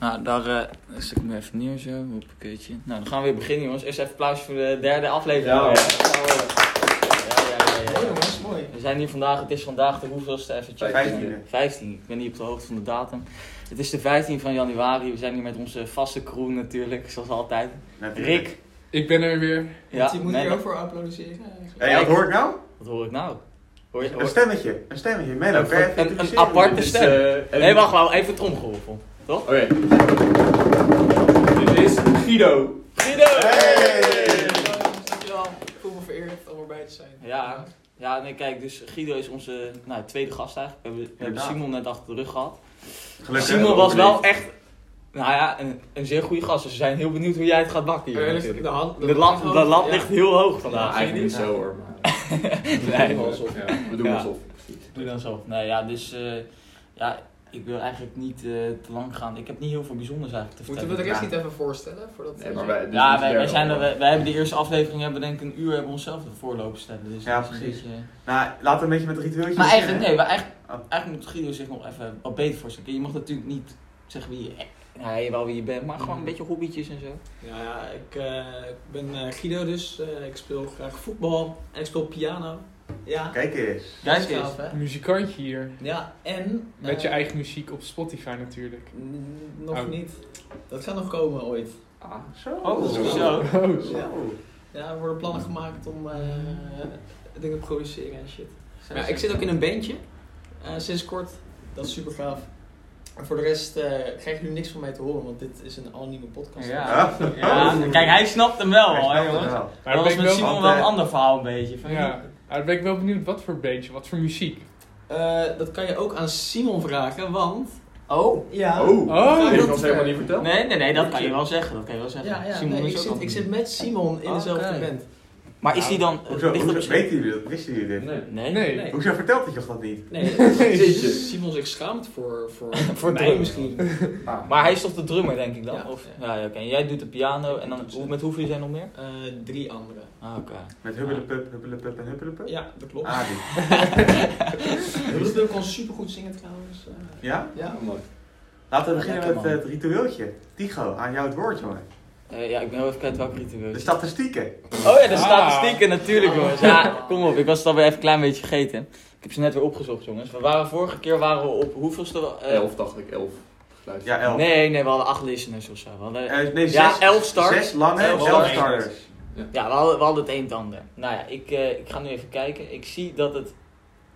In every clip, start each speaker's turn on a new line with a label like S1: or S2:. S1: Nou, daar eh zet ik me even neer zo. Hoppakeetje. Nou, dan gaan we weer beginnen, jongens. Eerst even applaus voor de derde aflevering.
S2: Ja.
S1: Ja, ja, ja, ja,
S2: Mooi
S1: ja.
S2: jongens, mooi.
S1: We zijn hier vandaag, het is vandaag de hoeveelste, even checken.
S2: Vijftiende.
S1: 15, ik ben niet op de hoogte van de datum. Het is de 15 van januari, we zijn hier met onze vaste crew natuurlijk, zoals altijd. Rick.
S3: Ik ben er weer.
S1: Ja,
S4: die moet
S1: nee,
S4: hier
S1: maar-
S4: ook voor applaudisseren eigenlijk.
S2: Hé, wat hoor ik nou?
S1: wat hoor ik nou? Hoor je, hoor-
S2: Een stemmetje, een stemmetje. Menno,
S1: Een-
S2: kan je even
S1: een- een
S2: introduceren?
S1: aparte
S2: Dus,
S1: stem.
S3: eh, en-
S1: Nee, wacht, wou even het omgeroffel. Toch?
S3: Oké. Dit is
S1: Nou,
S3: Guido.
S1: Guido!
S2: Hey!
S4: Dankjewel. Ik voel me vereerd om erbij te zijn.
S1: Ja, ja nee, kijk, dus Guido is onze nou, tweede gast eigenlijk. We hebben, we hebben
S2: Inderdaad.
S1: Simon net achter de rug gehad.
S2: Gelukkig
S1: Simon
S2: hebben we
S1: was wel
S2: overleefd.
S1: echt, nou ja, een, een zeer goede gast. Dus we zijn heel benieuwd hoe jij het gaat bakken hier
S4: Eerlijk,
S1: natuurlijk.
S4: hand,
S1: De lamp, de lamp ligt heel hoog vandaag.
S3: eigenlijk niet zo hoor.
S1: Nee,
S3: Ja, we doen
S1: Ja.
S3: alsof.
S1: Doe dan zo. Nee, ja, dus eh, ja, ik wil eigenlijk niet eh, te lang gaan. Ik heb niet heel veel bijzonders eigenlijk te
S4: Moeten we
S1: vertellen.
S4: de rest
S3: Ja.
S4: niet even voorstellen? Voordat
S3: Nee, maar wij, dit is
S1: ja,
S3: de
S1: wij, wij,
S3: derde
S1: zijn er,
S3: al.
S1: wij, wij hebben de eerste aflevering, hebben we denk ik een uur hebben we onszelf de voorlopen stellen. Dus
S2: Ja,
S1: dat is een
S2: precies.
S1: beetje-
S2: Nou, laten we een beetje met het ritueeltje
S1: Maar eigenlijk,
S2: beginnen.
S1: nee, maar eigenlijk,
S2: Oh.
S1: eigenlijk moet Guido zich nog even wat beter voorstellen. Je mag natuurlijk niet zeggen wie je, nou, je wel wie je bent, maar gewoon een beetje hobbytjes en zo.
S4: Ja, ja ik, eh, ik ben eh, Guido dus. Eh, ik speel graag voetbal en ik speel piano. Ja,
S2: Kijk eens.
S1: Kijk
S4: dat is
S1: eens.
S4: gaaf, hè?
S3: Een muzikantje hier.
S4: Ja, en...
S3: Met
S4: eh,
S3: je eigen muziek op Spotify natuurlijk.
S4: n- Nog
S3: Oh.
S4: niet. Dat gaat nog komen ooit.
S2: Ah, zo.
S1: Oh,
S4: zo.
S1: zo.
S3: Oh,
S2: Zo.
S4: Ja. Ja, er worden plannen gemaakt om eh, dingen te produceren en shit. Ja, ik zit ook in een bandje. eh, sinds kort. Dat is super gaaf. En voor de rest eh krijgen jullie niks van mij te horen, want dit is een anonieme podcast.
S1: Ja.
S2: Oh.
S1: Ja, kijk, hij snapt hem wel,
S2: Hij snapt
S1: hoor,
S2: het
S1: jongens.
S2: wel.
S3: Maar
S1: Maar dat
S3: dan ben
S1: was
S3: ik
S1: met
S3: wel,
S1: Simon
S2: want,
S1: wel een
S2: eh,
S1: ander verhaal een beetje. Van,
S3: ja, maar dan ben ik wel benieuwd wat voor beentje, wat voor muziek.
S4: Eh, dat kan je ook aan Simon vragen, want...
S1: Oh.
S4: Ja.
S2: Oh.
S3: Oh,
S4: dat
S3: ik
S4: is
S3: was helemaal
S4: waar.
S3: niet verteld.
S1: Nee, nee, nee, dat kan je wel zeggen. Dat kan je wel zeggen.
S4: Ja, ja
S1: Simon
S4: nee,
S1: is
S4: ik,
S1: ook
S4: zit,
S1: al-
S4: ik zit met Simon in
S1: Oké.
S4: dezelfde band.
S1: Maar is die dan...
S2: Hoezo,
S1: ligt
S2: hoezo,
S1: het misschien-
S2: weten jullie dat? Wisten jullie dit?
S3: Nee.
S1: Nee.
S3: Nee.
S4: Nee.
S2: Hoezo vertelt hij toch dat niet?
S4: Nee,
S3: Jeetje.
S4: dus Simon zich schaamt voor, voor,
S1: Voor
S4: mij
S1: drummen.
S4: misschien.
S2: Ah.
S1: Maar hij is toch de drummer, denk ik dan?
S4: Ja.
S1: Of, ja, ja, oké. En Jij doet de piano en dan... hoe- Met hoeveel zijn er nog meer?
S4: Eh, drie anderen.
S1: Ah, oké.
S2: Met huppelepup, huppelepup en huppelepup?
S4: Ja, dat klopt.
S2: Ah, die.
S4: Ruud wil kon supergoed zingen trouwens. eh.
S2: Ja?
S4: ja.
S2: Laten we
S1: Ja,
S2: beginnen
S1: lekker,
S2: met eh, het ritueeltje. Tigo, aan jou het woord, jongen.
S1: Eh, ja, ik ben heel even kwijt welk ritueel.
S2: De statistieken.
S1: Oh ja, de
S3: Ah.
S1: statistieken natuurlijk,
S4: Ah.
S1: jongens. Ja, kom op. Ik was het alweer even een klein beetje vergeten. Ik heb ze net weer opgezocht, jongens. We waren vorige keer waren we op hoeveelste... eh,
S3: 11 dacht ik, 11. Luister.
S2: Ja, elf.
S1: Nee, nee, we hadden acht listeners of zo. We hadden,
S2: Eh, nee,
S1: Ja,
S2: zes,
S1: elf starts.
S2: Zes lange,
S1: Elf
S2: elf,
S1: starts.
S2: starters.
S1: Ja, we hadden, we hadden het een en het ander. Nou ja, ik, eh, ik ga nu even kijken. Ik zie dat het...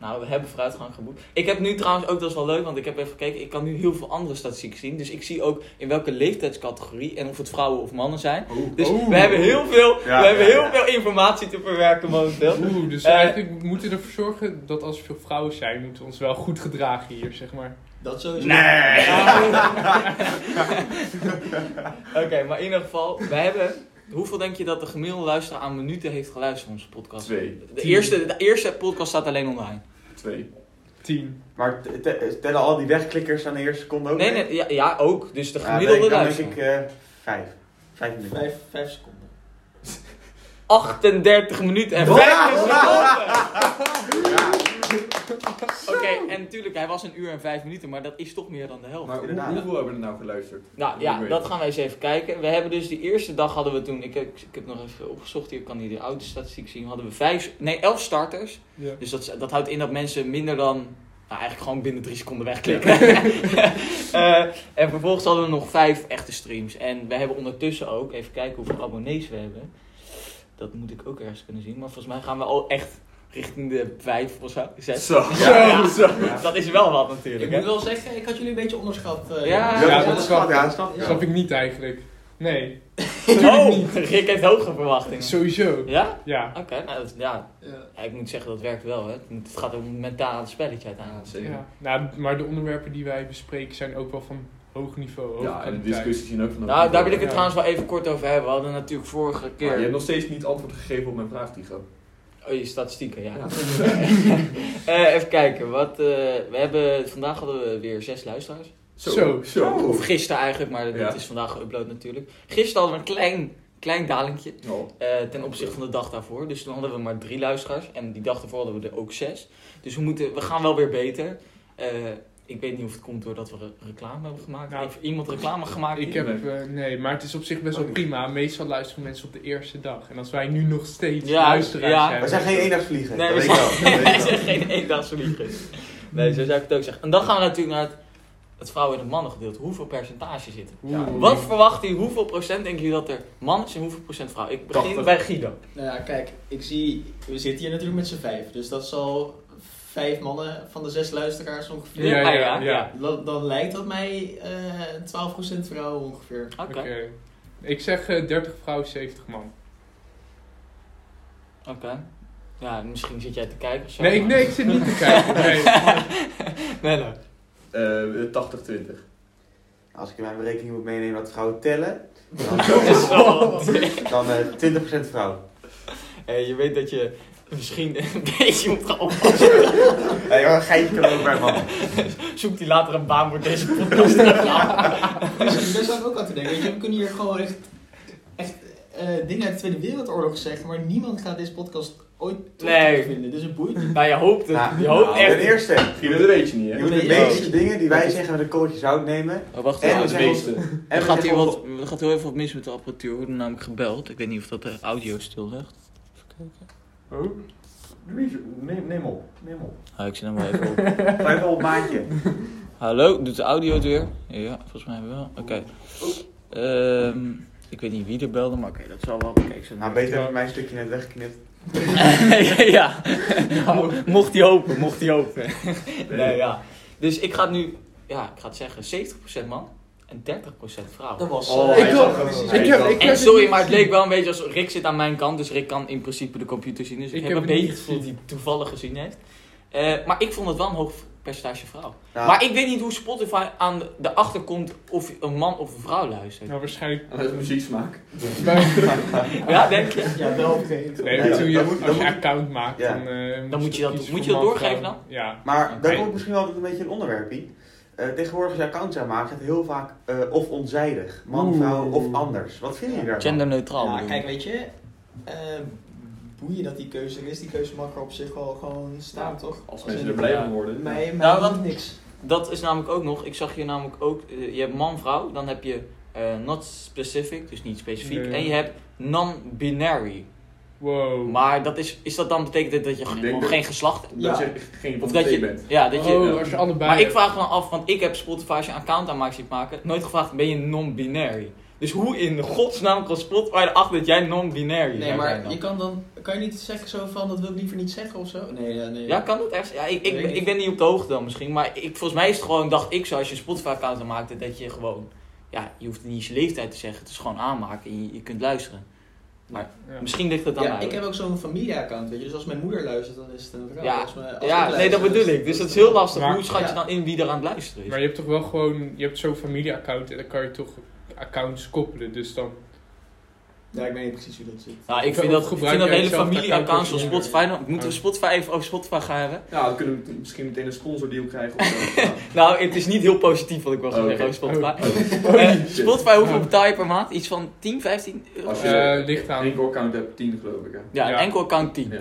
S1: Nou, we hebben vooruitgang geboekt. Ik heb nu trouwens ook, dat is wel leuk, want ik heb even gekeken. Ik kan nu heel veel andere statistieken zien. Dus ik zie ook in welke leeftijdscategorie en of het vrouwen of mannen zijn.
S2: Oeh.
S1: Dus
S3: Oeh.
S1: we hebben heel veel,
S2: Oh, Ja,
S1: we hebben
S2: ja,
S1: heel
S2: ja.
S1: veel informatie te verwerken momenteel.
S3: Oeh, dus
S1: Eh.
S3: eigenlijk moeten we ervoor zorgen dat als er veel vrouwen zijn, moeten we ons wel goed gedragen hier, zeg maar.
S4: Dat sowieso.
S2: Nee.
S1: Oké, maar in ieder geval, we hebben... Hoeveel denk je dat de gemiddelde luisteraar aan minuten heeft geluisterd naar onze podcast?
S5: Twee.
S1: De eerste, de eerste podcast staat alleen online.
S5: Twee.
S3: Tien.
S2: Maar t- t- tellen al die wegklikkers aan de eerste seconde ook
S1: Nee,
S2: mee?
S1: nee, ja, ja ook. Dus de
S2: Ja, dan-
S1: gemiddelde
S2: dan
S1: luisteraar.
S2: denk ik eh, vijf. Vijf minuten.
S4: Vijf, vijf seconden.
S1: 38 minuten en
S2: Wow.
S1: 50 seconden. Oké, en natuurlijk, hij was een uur en 5 minuten, maar dat is toch meer dan de helft.
S5: Maar hoe,
S2: Inderdaad.
S5: hoeveel hebben er nou geluisterd?
S1: nou ja,
S5: Hoe
S1: dat
S5: weet
S1: gaan wij eens even kijken. We hebben dus die eerste dag hadden we toen, ik, heb- ik heb nog even opgezocht, hier kan je de oude statistiek zien, hadden we vijf, nee, 11 starters.
S3: Ja.
S1: Dus dat, is- dat houdt in dat mensen minder dan, nou eigenlijk gewoon binnen 3 seconden wegklikken. Eh, en vervolgens hadden we nog 5 echte streams. En we hebben ondertussen ook, even kijken hoeveel abonnees we hebben. Dat moet ik ook ergens kunnen zien, maar volgens mij gaan we al echt richting de 5 of zo, 6.
S5: Zo.
S1: Ja.
S5: Zo. Zo.
S1: Dat is wel wat
S4: Ik
S1: natuurlijk,
S4: moet
S1: hè?
S4: wel zeggen, ik had jullie een beetje onderschat. eh,
S1: Ja.
S4: jongens.
S2: Ja,
S3: Ja,
S2: dat
S3: dat
S2: snap
S3: snap
S2: ik. Ja, dat snap ik.
S4: Ja.
S3: Snap ik niet eigenlijk. Nee,
S1: Oh, Rick heeft hoge verwachtingen.
S3: sowieso.
S1: Ja?
S3: Ja.
S1: Oké, nou dat, ja.
S4: Ja.
S1: Ja, ik moet zeggen dat werkt wel, hè. Het gaat om een mentaal spelletje
S5: Ja,
S1: uiteindelijk.
S5: zeker.
S3: ja. Nou, maar de onderwerpen die wij bespreken zijn ook wel van hoog niveau. Hoog
S5: Ja, en de
S3: kwaliteit.
S5: discussies zien ook van
S1: Nou, daar wil ik het
S3: Ja.
S1: trouwens wel even kort over hebben. We hadden natuurlijk vorige
S5: Maar Ah, je
S1: keer...
S5: hebt nog steeds niet antwoord gegeven op mijn vraag, Tigo.
S1: Oh, je statistieken, ja.
S5: Ja.
S1: Eh, even kijken, wat... eh, we hebben... Vandaag hadden we weer zes luisteraars.
S3: Zo.
S5: Zo.
S2: Oh,
S1: Of gisteren eigenlijk, maar dat
S5: Ja.
S1: is vandaag geüpload natuurlijk. Gisteren hadden we een klein, klein dalingje.
S5: Oh.
S1: Eh, ten opzichte van de dag daarvoor. Dus toen hadden we maar drie luisteraars. En die dag daarvoor hadden we er ook zes. Dus we, moeten, we gaan wel weer beter. Eh, Ik weet niet of het komt doordat we re- reclame hebben gemaakt.
S3: Nou,
S1: Heeft iemand reclame gemaakt?
S3: Ik heb, eh, nee, maar het is op zich best wel
S1: Oh.
S5: Ook niet.
S3: prima. Meestal luisteren mensen op de eerste dag. En als wij nu nog steeds
S1: Ja,
S3: luisteraars
S1: ja.
S3: hebben...
S2: We zijn geen eendagsvliegen.
S1: Nee,
S2: dat
S1: we
S2: weet ik wel.
S1: Hij
S2: Dat weet ik wel.
S1: zegt geen eendagsvliegen. Nee, zo zou ik het ook zeggen. En dan gaan we natuurlijk naar het, het vrouwen- en het mannengedeelte. Hoeveel percentage zit er?
S3: Oeh.
S1: Wat verwacht u? Hoeveel procent denken jullie dat er man is en hoeveel procent vrouw? Ik begin
S5: 80.
S1: bij Guido.
S4: Nou ja, kijk, ik zie, we zitten hier natuurlijk met z'n vijf. Dus dat zal vijf mannen van de zes luisteraars ongeveer.
S3: Ja, ja,
S1: Ah,
S3: ja.
S1: ja.
S4: Dan, dan lijkt dat mij eh 12% vrouwen ongeveer.
S1: Oké.
S3: Oké. Ik zeg eh, 30 vrouw, 70 man.
S1: Oké. Ja, misschien zit jij te kijken of zo.
S3: Nee, ik,
S1: maar-
S3: nee, ik zit niet te kijken. Nee.
S1: Nee, nee.
S5: Eh, 80-20.
S2: Als ik in mijn berekening moet meenemen dat vrouwen tellen, dan,
S1: Zo.
S2: dan eh 20% vrouw.
S1: Hey, je weet dat je misschien een beetje moet gaan oppassen.
S2: Hey, Eh, joh, een geintje kan ook bij man.
S1: Zoekt hij later een baan voor deze podcast?
S4: Dus daar zou ik ook aan te denken. Weet je, we kunnen hier gewoon echt, echt eh, dingen uit de Tweede Wereldoorlog zeggen, maar niemand gaat deze podcast ooit
S1: Nee.
S4: terug vinden. Dus het boeit niet.
S1: nou, je hoopt het.
S2: Nou,
S1: je hoopt
S2: nou,
S1: echt.
S2: Ten eerste,
S5: Guido, dat weet je niet,
S2: je
S5: hè?
S2: moet de
S4: Nee,
S2: meeste
S4: joh.
S2: dingen die wij zeggen met een korreltje zout nemen.
S1: Oh, wacht
S2: En
S5: Ja,
S1: even.
S2: we
S5: het
S2: zeggen-
S5: meeste.
S2: En
S1: Er
S2: we
S1: gaat, hier
S2: zeggen
S1: wat, er gaat heel even wat mis met de apparatuur. We worden namelijk gebeld. Ik weet niet of dat de audio stil legt.
S5: Oh. Louise, Neem, neem op, neem op.
S1: Ah, ik zit hem wel even op.
S2: Ga even op maatje.
S1: Hallo, doet de audio het weer? Ja, volgens mij wel. Oké.
S2: Oh.
S1: Ehm, ik weet niet wie er belde, maar oké, dat zal wel. Oké, ik zet hem
S2: Nou, beter heb ik mijn stukje net weggeknipt.
S1: ja, Mo- mocht hij open, mocht hij open. nee, ja. Dus ik ga het nu, ja, ik ga het zeggen, 70% man en 30% vrouw.
S4: Dat was...
S2: Oh,
S4: eh,
S2: hij
S4: ik
S2: is
S4: had-
S2: ook wel-
S4: precies-
S2: hij
S3: Ik
S2: is
S3: heb,
S2: wel-
S3: ik heb
S1: En sorry,
S3: niet
S1: maar het
S3: gezien.
S1: leek wel een beetje als Rick zit aan mijn kant, dus Rick kan in principe de computer zien. Dus ik,
S3: Ik
S1: heb
S3: heb
S1: een
S3: het niet
S1: beetje het gevoel dat hij het
S3: gezien.
S1: toevallig gezien heeft. Eh, maar ik vond het wel een hoog percentage vrouw.
S2: Nou,
S1: Maar ik weet niet hoe Spotify aan de achterkomt of een man of een vrouw luistert.
S3: Nou, waarschijnlijk...
S5: Dat is muzieksmaak.
S1: Ja, denk je?
S4: Ja, wel op een gegeven moment.
S3: Nee,
S2: Nee,
S3: maar toen je,
S2: dat moet- dat
S3: als je
S2: moet-
S3: account maakt,
S2: Ja.
S3: dan, eh,
S1: Dan moet je dat-
S3: kiezen
S1: moet je
S3: voor
S1: dat
S3: man,
S1: doorgeven
S3: vrouw.
S1: dan?
S3: Ja.
S2: Maar
S1: Oké.
S2: daar komt misschien wel een beetje een onderwerpje. Eh, tegenwoordig als je accounts aanmaakt, het heel vaak eh, of onzijdig. Man,
S3: Oeh.
S2: vrouw of anders. Wat vind je daarvan?
S1: Genderneutraal.
S4: Ja,
S1: bedoel ik.
S4: kijk, weet je, eh, boeien dat die keuze er is, die keuze mag er op zich wel gewoon staan, toch?
S5: Als
S4: in-
S5: mensen er blij van worden.
S4: Mij, mij
S1: Nou, want-
S4: doet niks.
S1: Dat is namelijk ook nog, ik zag hier namelijk ook, eh, je hebt man-vrouw, dan heb je eh, not specific, dus niet specifiek,
S3: Nee.
S1: en je hebt non-binary.
S3: Wow.
S1: Maar dat is, is dat dan betekent dat, dat je
S5: Ik
S1: ge-
S5: denk
S1: gewoon
S5: dat-
S1: geen geslacht hebt?
S5: Dat
S4: Ja.
S5: je geen
S1: Of
S5: van de
S1: dat
S5: twee
S1: je,
S5: bent.
S1: ja, dat je,
S3: oh, als je allebei...
S1: maar ik
S3: hebt.
S1: vraag me af, want ik heb Spotify als je een account aanmaakt zit maken, nooit gevraagd, ben je non-binary? Dus hoe in godsnaam kan Spotify erachter dat jij non-binary
S4: Nee,
S1: zou zijn
S4: maar
S1: dan?
S4: je kan dan, kan je niet zeggen zo van, dat wil ik liever niet zeggen of zo? Nee, ja, nee.
S1: Ja, kan dat echt? Ja, ik, ik,
S4: Weet
S1: ben,
S4: ik
S1: ik ben niet op de hoogte dan misschien, maar ik, volgens mij is het gewoon, dacht ik zo, als je een Spotify-account maakte, dat je gewoon, ja, je hoeft niet eens je leeftijd te zeggen, het is gewoon aanmaken en je, je kunt luisteren.
S3: Ja.
S1: Misschien ligt dat dan
S4: Ja,
S1: uit.
S4: ik heb ook zo'n familieaccount, weet je, dus als mijn moeder luistert, dan is het een vrouw.
S1: Ja,
S4: Als mijn- als
S1: ja
S4: ik
S1: nee, dat
S4: luister,
S1: bedoel
S4: is-
S1: ik. Dus dat is heel lastig.
S3: Maar-
S1: Hoe schat je
S4: ja.
S1: dan in wie er aan het luisteren is?
S3: Maar je hebt toch wel gewoon... Je hebt zo'n familieaccount en dan kan je toch accounts koppelen. Dus dan...
S4: Ja, ik weet niet precies hoe dat zit.
S1: Nou, ik
S3: Of
S1: vind dat, ik
S3: gebruik
S1: vind dat
S3: jij
S1: hele
S3: hetzelfde
S1: familieaccounts van
S3: account als
S1: Spotify, nou, moeten we
S3: Ja.
S1: Spotify even over Spotify gaan hebben?
S5: Ja, dan kunnen we misschien meteen een sponsordeal krijgen. Of zo. Ja.
S1: Nou, het is niet heel positief wat ik wil gaan
S5: Oh,
S1: zeggen over
S3: oké.
S1: Spotify.
S5: Oh,
S1: Eh,
S5: shit.
S1: Spotify, hoeveel betaal je per maand? Iets van 10, 15 euro?
S5: Als je
S3: Eh, ligt aan.
S5: een enkel account hebt, 10 geloof ik. Hè.
S1: Ja,
S3: Ja.
S1: een enkel account 10.
S5: Ja.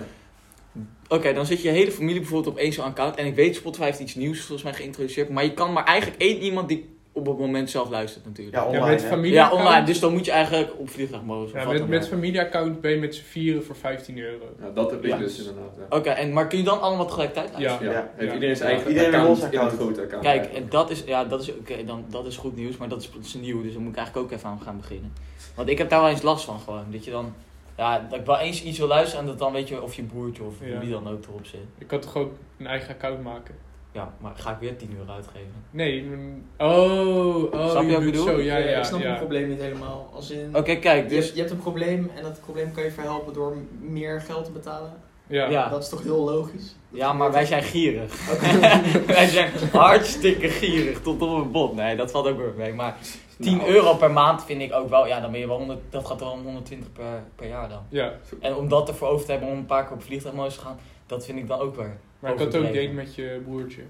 S1: Oké, dan zit je hele familie bijvoorbeeld op één zo'n account. En ik weet, Spotify heeft iets nieuws volgens mij geïntroduceerd. Maar je kan maar eigenlijk één iemand die op het moment zelf luistert natuurlijk.
S2: Ja,
S3: Ja,
S2: online.
S3: met
S2: hè?
S1: Ja,
S3: familieaccount...
S1: online. Dus dan moet je eigenlijk op vliegtuigmodus of
S3: Ja,
S1: wat
S3: met,
S1: dan
S3: met
S1: ook.
S3: familieaccount ben je met z'n vieren voor 15 euro.
S5: Nou, dat heb ik
S3: Ja.
S5: dus inderdaad. Ja.
S1: Oké, en maar kun je dan allemaal tegelijkertijd luisteren?
S3: Ja.
S5: Ja.
S2: Ja.
S5: Heeft iedereen zijn
S1: Ja.
S5: eigen
S2: Iedereen een
S5: account
S2: losse
S5: in het
S2: account.
S5: grote account.
S1: Kijk, en dat is, ja, dat is, oké, dan, dat is goed nieuws, maar dat is, dat is nieuw, dus daar moet ik eigenlijk ook even aan gaan beginnen. Want ik heb daar wel eens last van gewoon, dat je dan, ja, dat ik wel eens iets wil luisteren en dat dan weet je of je broertje of
S3: Ja.
S1: wie dan ook erop zit.
S3: Ik kan toch ook een eigen account maken?
S1: Ja, maar ga ik weer 10 euro uitgeven.
S3: Nee, mm, oh, oh,
S1: Snap je wat ik
S3: bedoelt
S1: bedoel?
S3: Zo, ja, ja,
S4: ik snap
S3: ja.
S4: het probleem niet helemaal. Als in,
S1: Oké, kijk,
S4: je, hebt,
S1: dus,
S4: je hebt een probleem en dat probleem kan je verhelpen door m- meer geld te betalen.
S3: Ja.
S1: ja.
S4: Dat is toch heel logisch?
S1: Ja, maar wij zijn gierig.
S4: Oké.
S1: wij zijn hartstikke gierig tot op een bot. Nee, dat valt ook weer mee. Maar 10
S5: Nou,
S1: euro per maand vind ik ook wel. Ja, dan ben je wel 100, dat gaat wel om 120 per, per jaar dan.
S3: Ja,
S1: En om dat ervoor over te hebben om een paar keer op vliegtuigmodus te gaan, dat vind ik dan ook weer.
S3: maar ik kan het ook
S1: Overdreven.
S3: delen met je broertje.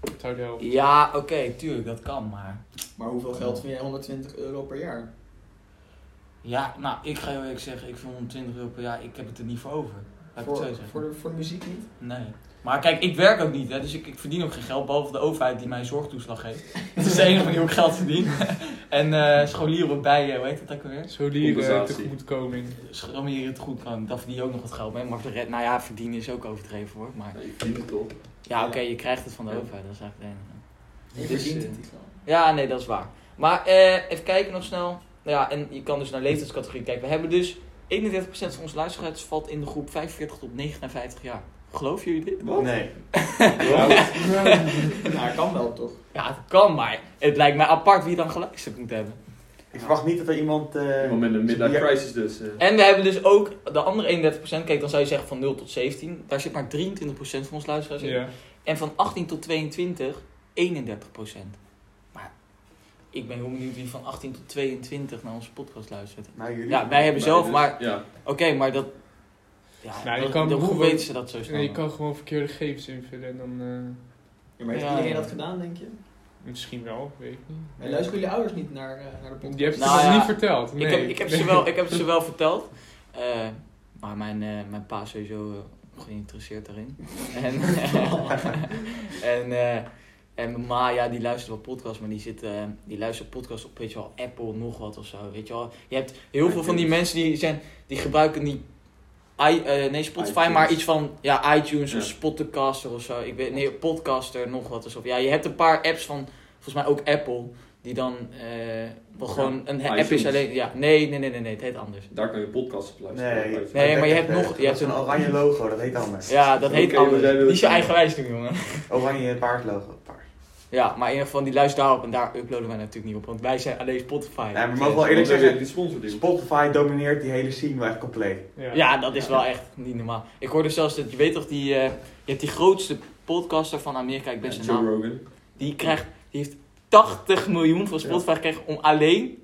S3: Dat zou helpen.
S1: Ja, oké, tuurlijk, dat kan. Maar
S4: Maar hoeveel geld vind jij 120 euro per jaar?
S1: ja, nou, ik ga heel eerlijk zeggen, ik vind 120 euro per jaar, ik heb het er niet voor over. Laat ik
S4: voor,
S1: het zo zeggen.
S4: voor, de, voor de muziek niet?
S1: Nee. Maar kijk, ik werk ook niet, hè, dus ik, ik verdien ook geen geld, behalve de overheid die mij zorgtoeslag geeft. Dat is de enige manier om geld te verdienen. en eh scholieren wordt bij, eh, hoe heet dat ook alweer?
S3: Scholieren
S5: Compensatie.
S3: tegemoetkoming.
S1: Scholieren het goed kan, daar verdien je ook nog wat geld mee. Maar de red, nou ja, verdienen is ook overdreven hoor. Maar
S5: Ik vind het toch.
S1: ja, oké, je krijgt het van de overheid, dat is eigenlijk de enige.
S4: Je
S1: Dus,
S4: verdient
S1: eh,
S4: het niet wel.
S1: Ja, nee, dat is waar. Maar eh, even kijken nog snel. Nou Ja, en je kan dus naar leeftijdscategorie kijken. We hebben dus 31% van onze luisteraars valt in de groep 45 tot 59 jaar. Geloven jullie dit?
S2: Nee.
S4: Nou, kan wel toch?
S1: Ja, het kan, maar het lijkt mij apart wie dan geluisterd moet hebben.
S2: Ik verwacht niet dat er iemand... eh,
S5: Iemand met een midlife
S2: ja,
S5: crisis dus. eh.
S1: En we hebben dus ook de andere 31%. Kijk, dan zou je zeggen van 0 tot 17. Daar zit maar 23% van ons luisteraars in.
S3: Ja.
S1: En van 18 tot 22, 31%. Maar ik ben heel benieuwd wie van 18 tot 22 naar onze podcast luistert.
S2: Nou, jullie.
S1: Ja, wij hebben zelf,
S5: dus-
S1: maar
S5: Ja.
S1: Oké, maar dat. Ja,
S3: Nou, je
S1: dat-
S3: kan
S1: dat- hoe
S3: bijvoorbeeld-
S1: weten ze dat zo snel?
S3: Nee, je kan gewoon verkeerde gegevens invullen en dan... eh,
S4: Ja, maar heeft
S1: Ja,
S4: iedereen
S1: ja.
S4: dat gedaan, denk je?
S3: misschien wel, weet ik niet.
S4: En luisteren jullie ouders niet naar, eh, naar de podcast?
S3: Die heeft het
S1: Nou
S3: nog
S1: ja,
S3: niet verteld. Nee.
S1: ik, heb, ik, heb ze wel, ik heb ze wel verteld. Eh, maar mijn, eh, mijn pa is sowieso eh, geïnteresseerd daarin. en eh, en, eh, en mijn ma, ja, die luistert wel podcasts, maar die, zit, eh, die luistert podcasts op, weet je wel, Apple, nog wat of zo, weet je wel. Je hebt heel veel van die mensen die, zijn, die gebruiken die... I, eh, nee, Spotify,
S5: iTunes.
S1: maar iets van ja, iTunes of
S5: Ja.
S1: Spotcaster of zo. Ik weet, nee, Podcaster, nog wat. Of, ja, je hebt een paar apps van, volgens mij ook Apple, die dan eh, wel
S5: Ja,
S1: gewoon een app
S5: iTunes.
S1: is alleen. Ja, nee, nee, nee, nee, nee, het heet anders.
S5: Daar kan je podcasts op luisteren.
S2: Nee,
S5: Ja,
S1: Nee, maar je hebt nog-
S2: eh, Dat
S1: je hebt
S2: is een
S1: een-
S2: oranje logo, dat heet anders.
S1: Ja, dat heet
S5: Oké,
S1: anders.
S5: we zijn weer
S1: Die is je
S5: terug.
S1: eigenwijs doen, jongen.
S2: Oranje paardlogo. Paard.
S1: Ja, maar in ieder geval, die luistert daarop en daar uploaden wij natuurlijk niet op, want wij zijn alleen Spotify.
S2: Nee, maar we
S5: want
S2: mogen wel eerlijk
S5: we hebben
S2: zeggen,
S5: Die sponsor die.
S2: Dus Spotify domineert die hele scene wel echt compleet.
S1: Ja, dat is wel echt niet normaal. Ik hoorde zelfs dat, je weet toch, die, eh, je hebt die grootste podcaster van Amerika, ik ben zijn
S5: Joe
S1: naam.
S5: Rogan.
S1: Die krijgt, die heeft 80 miljoen van Spotify gekregen om alleen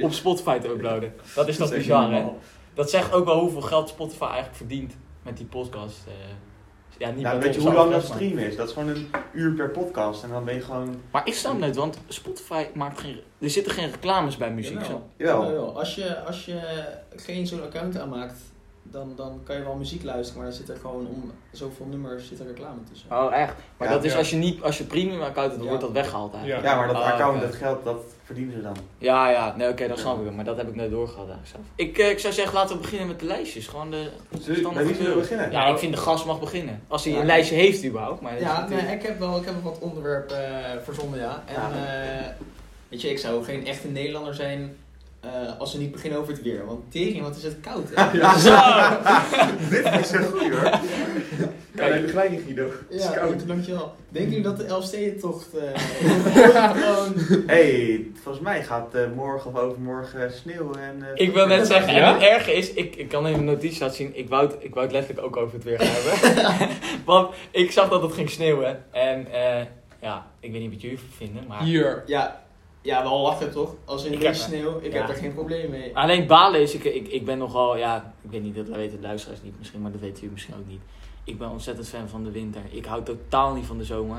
S1: op Spotify te uploaden. Dat is toch
S5: Dat is echt
S1: bizar,
S5: niet
S1: hè?
S5: normaal.
S1: Dat zegt ook wel hoeveel geld Spotify eigenlijk verdient met die podcast. eh. ja, niet
S2: Nou,
S1: met
S2: weet je
S1: ons
S2: hoe lang dat
S1: overigens, maar-
S2: stream is? Dat is gewoon een uur per podcast en dan ben je gewoon...
S1: Maar ik snap het, want Spotify maakt geen... Er zitten geen reclames bij muziek.
S4: Jawel.
S1: Zo.
S4: Nou,
S2: Jawel.
S4: joh, als, je, als je geen zo'n account aanmaakt, dan, dan kan je wel muziek luisteren, maar dan zit er gewoon om zoveel nummers zit er reclame tussen.
S1: Oh, echt? Maar
S2: Ja.
S1: dat is
S3: Ja.
S1: als je, niet, als je premium account hebt, dan
S4: Ja.
S1: wordt dat weggehaald eigenlijk.
S2: Ja, maar dat
S1: Ah,
S2: account,
S1: oké.
S2: dat geld, dat verdienen ze dan.
S1: Ja, ja. Nee, oké, dat snap ik wel. Maar dat heb ik net doorgehad eigenlijk zelf. Ik, eh, ik zou zeggen, laten we beginnen met de lijstjes. Gewoon de...
S2: Zullen, bij wie zullen we beginnen?
S1: Ja, ik vind de gast mag beginnen. Als hij
S4: Ja.
S1: een lijstje heeft überhaupt. Maar dat is
S4: Ja,
S1: natuurlijk-
S4: nee, ik heb wel ik heb wel wat onderwerpen eh, verzonnen, ja. En
S2: Ja.
S4: eh, weet je, ik zou geen echte Nederlander zijn eh, als we niet beginnen over het weer. Want tering, wat is het koud, hè?
S1: Zo!
S2: Dit is een goeie hoor. Ja,
S5: Ja, nee, gelijk in Guido. Het is
S4: Ja,
S5: koud.
S4: goed, dankjewel. Denken jullie dat de Elfstedentocht eh gewoon...
S2: hey, volgens mij gaat eh, morgen of overmorgen sneeuw en... eh,
S1: Ik wil net zeggen,
S3: Ja?
S1: en het erge is, ik, ik kan even een notitie laten zien. Ik wou, het, ik wou het letterlijk ook over het weer gaan hebben. Want ik zag dat het ging sneeuwen. En eh, ja, ik weet niet wat jullie vinden, maar...
S3: Hier.
S4: Ja, ja, wel lachen toch? Als in
S1: Ik
S4: de
S1: heb-
S4: sneeuw, ik
S1: ja. Ah.
S4: heb daar geen probleem mee.
S1: Alleen balen is, ik, ik, ik ben nogal, ja, ik weet niet, dat weten de luisteraars niet misschien, maar dat weten jullie misschien ook niet. Ik ben ontzettend fan van de winter. Ik hou totaal niet van de zomer.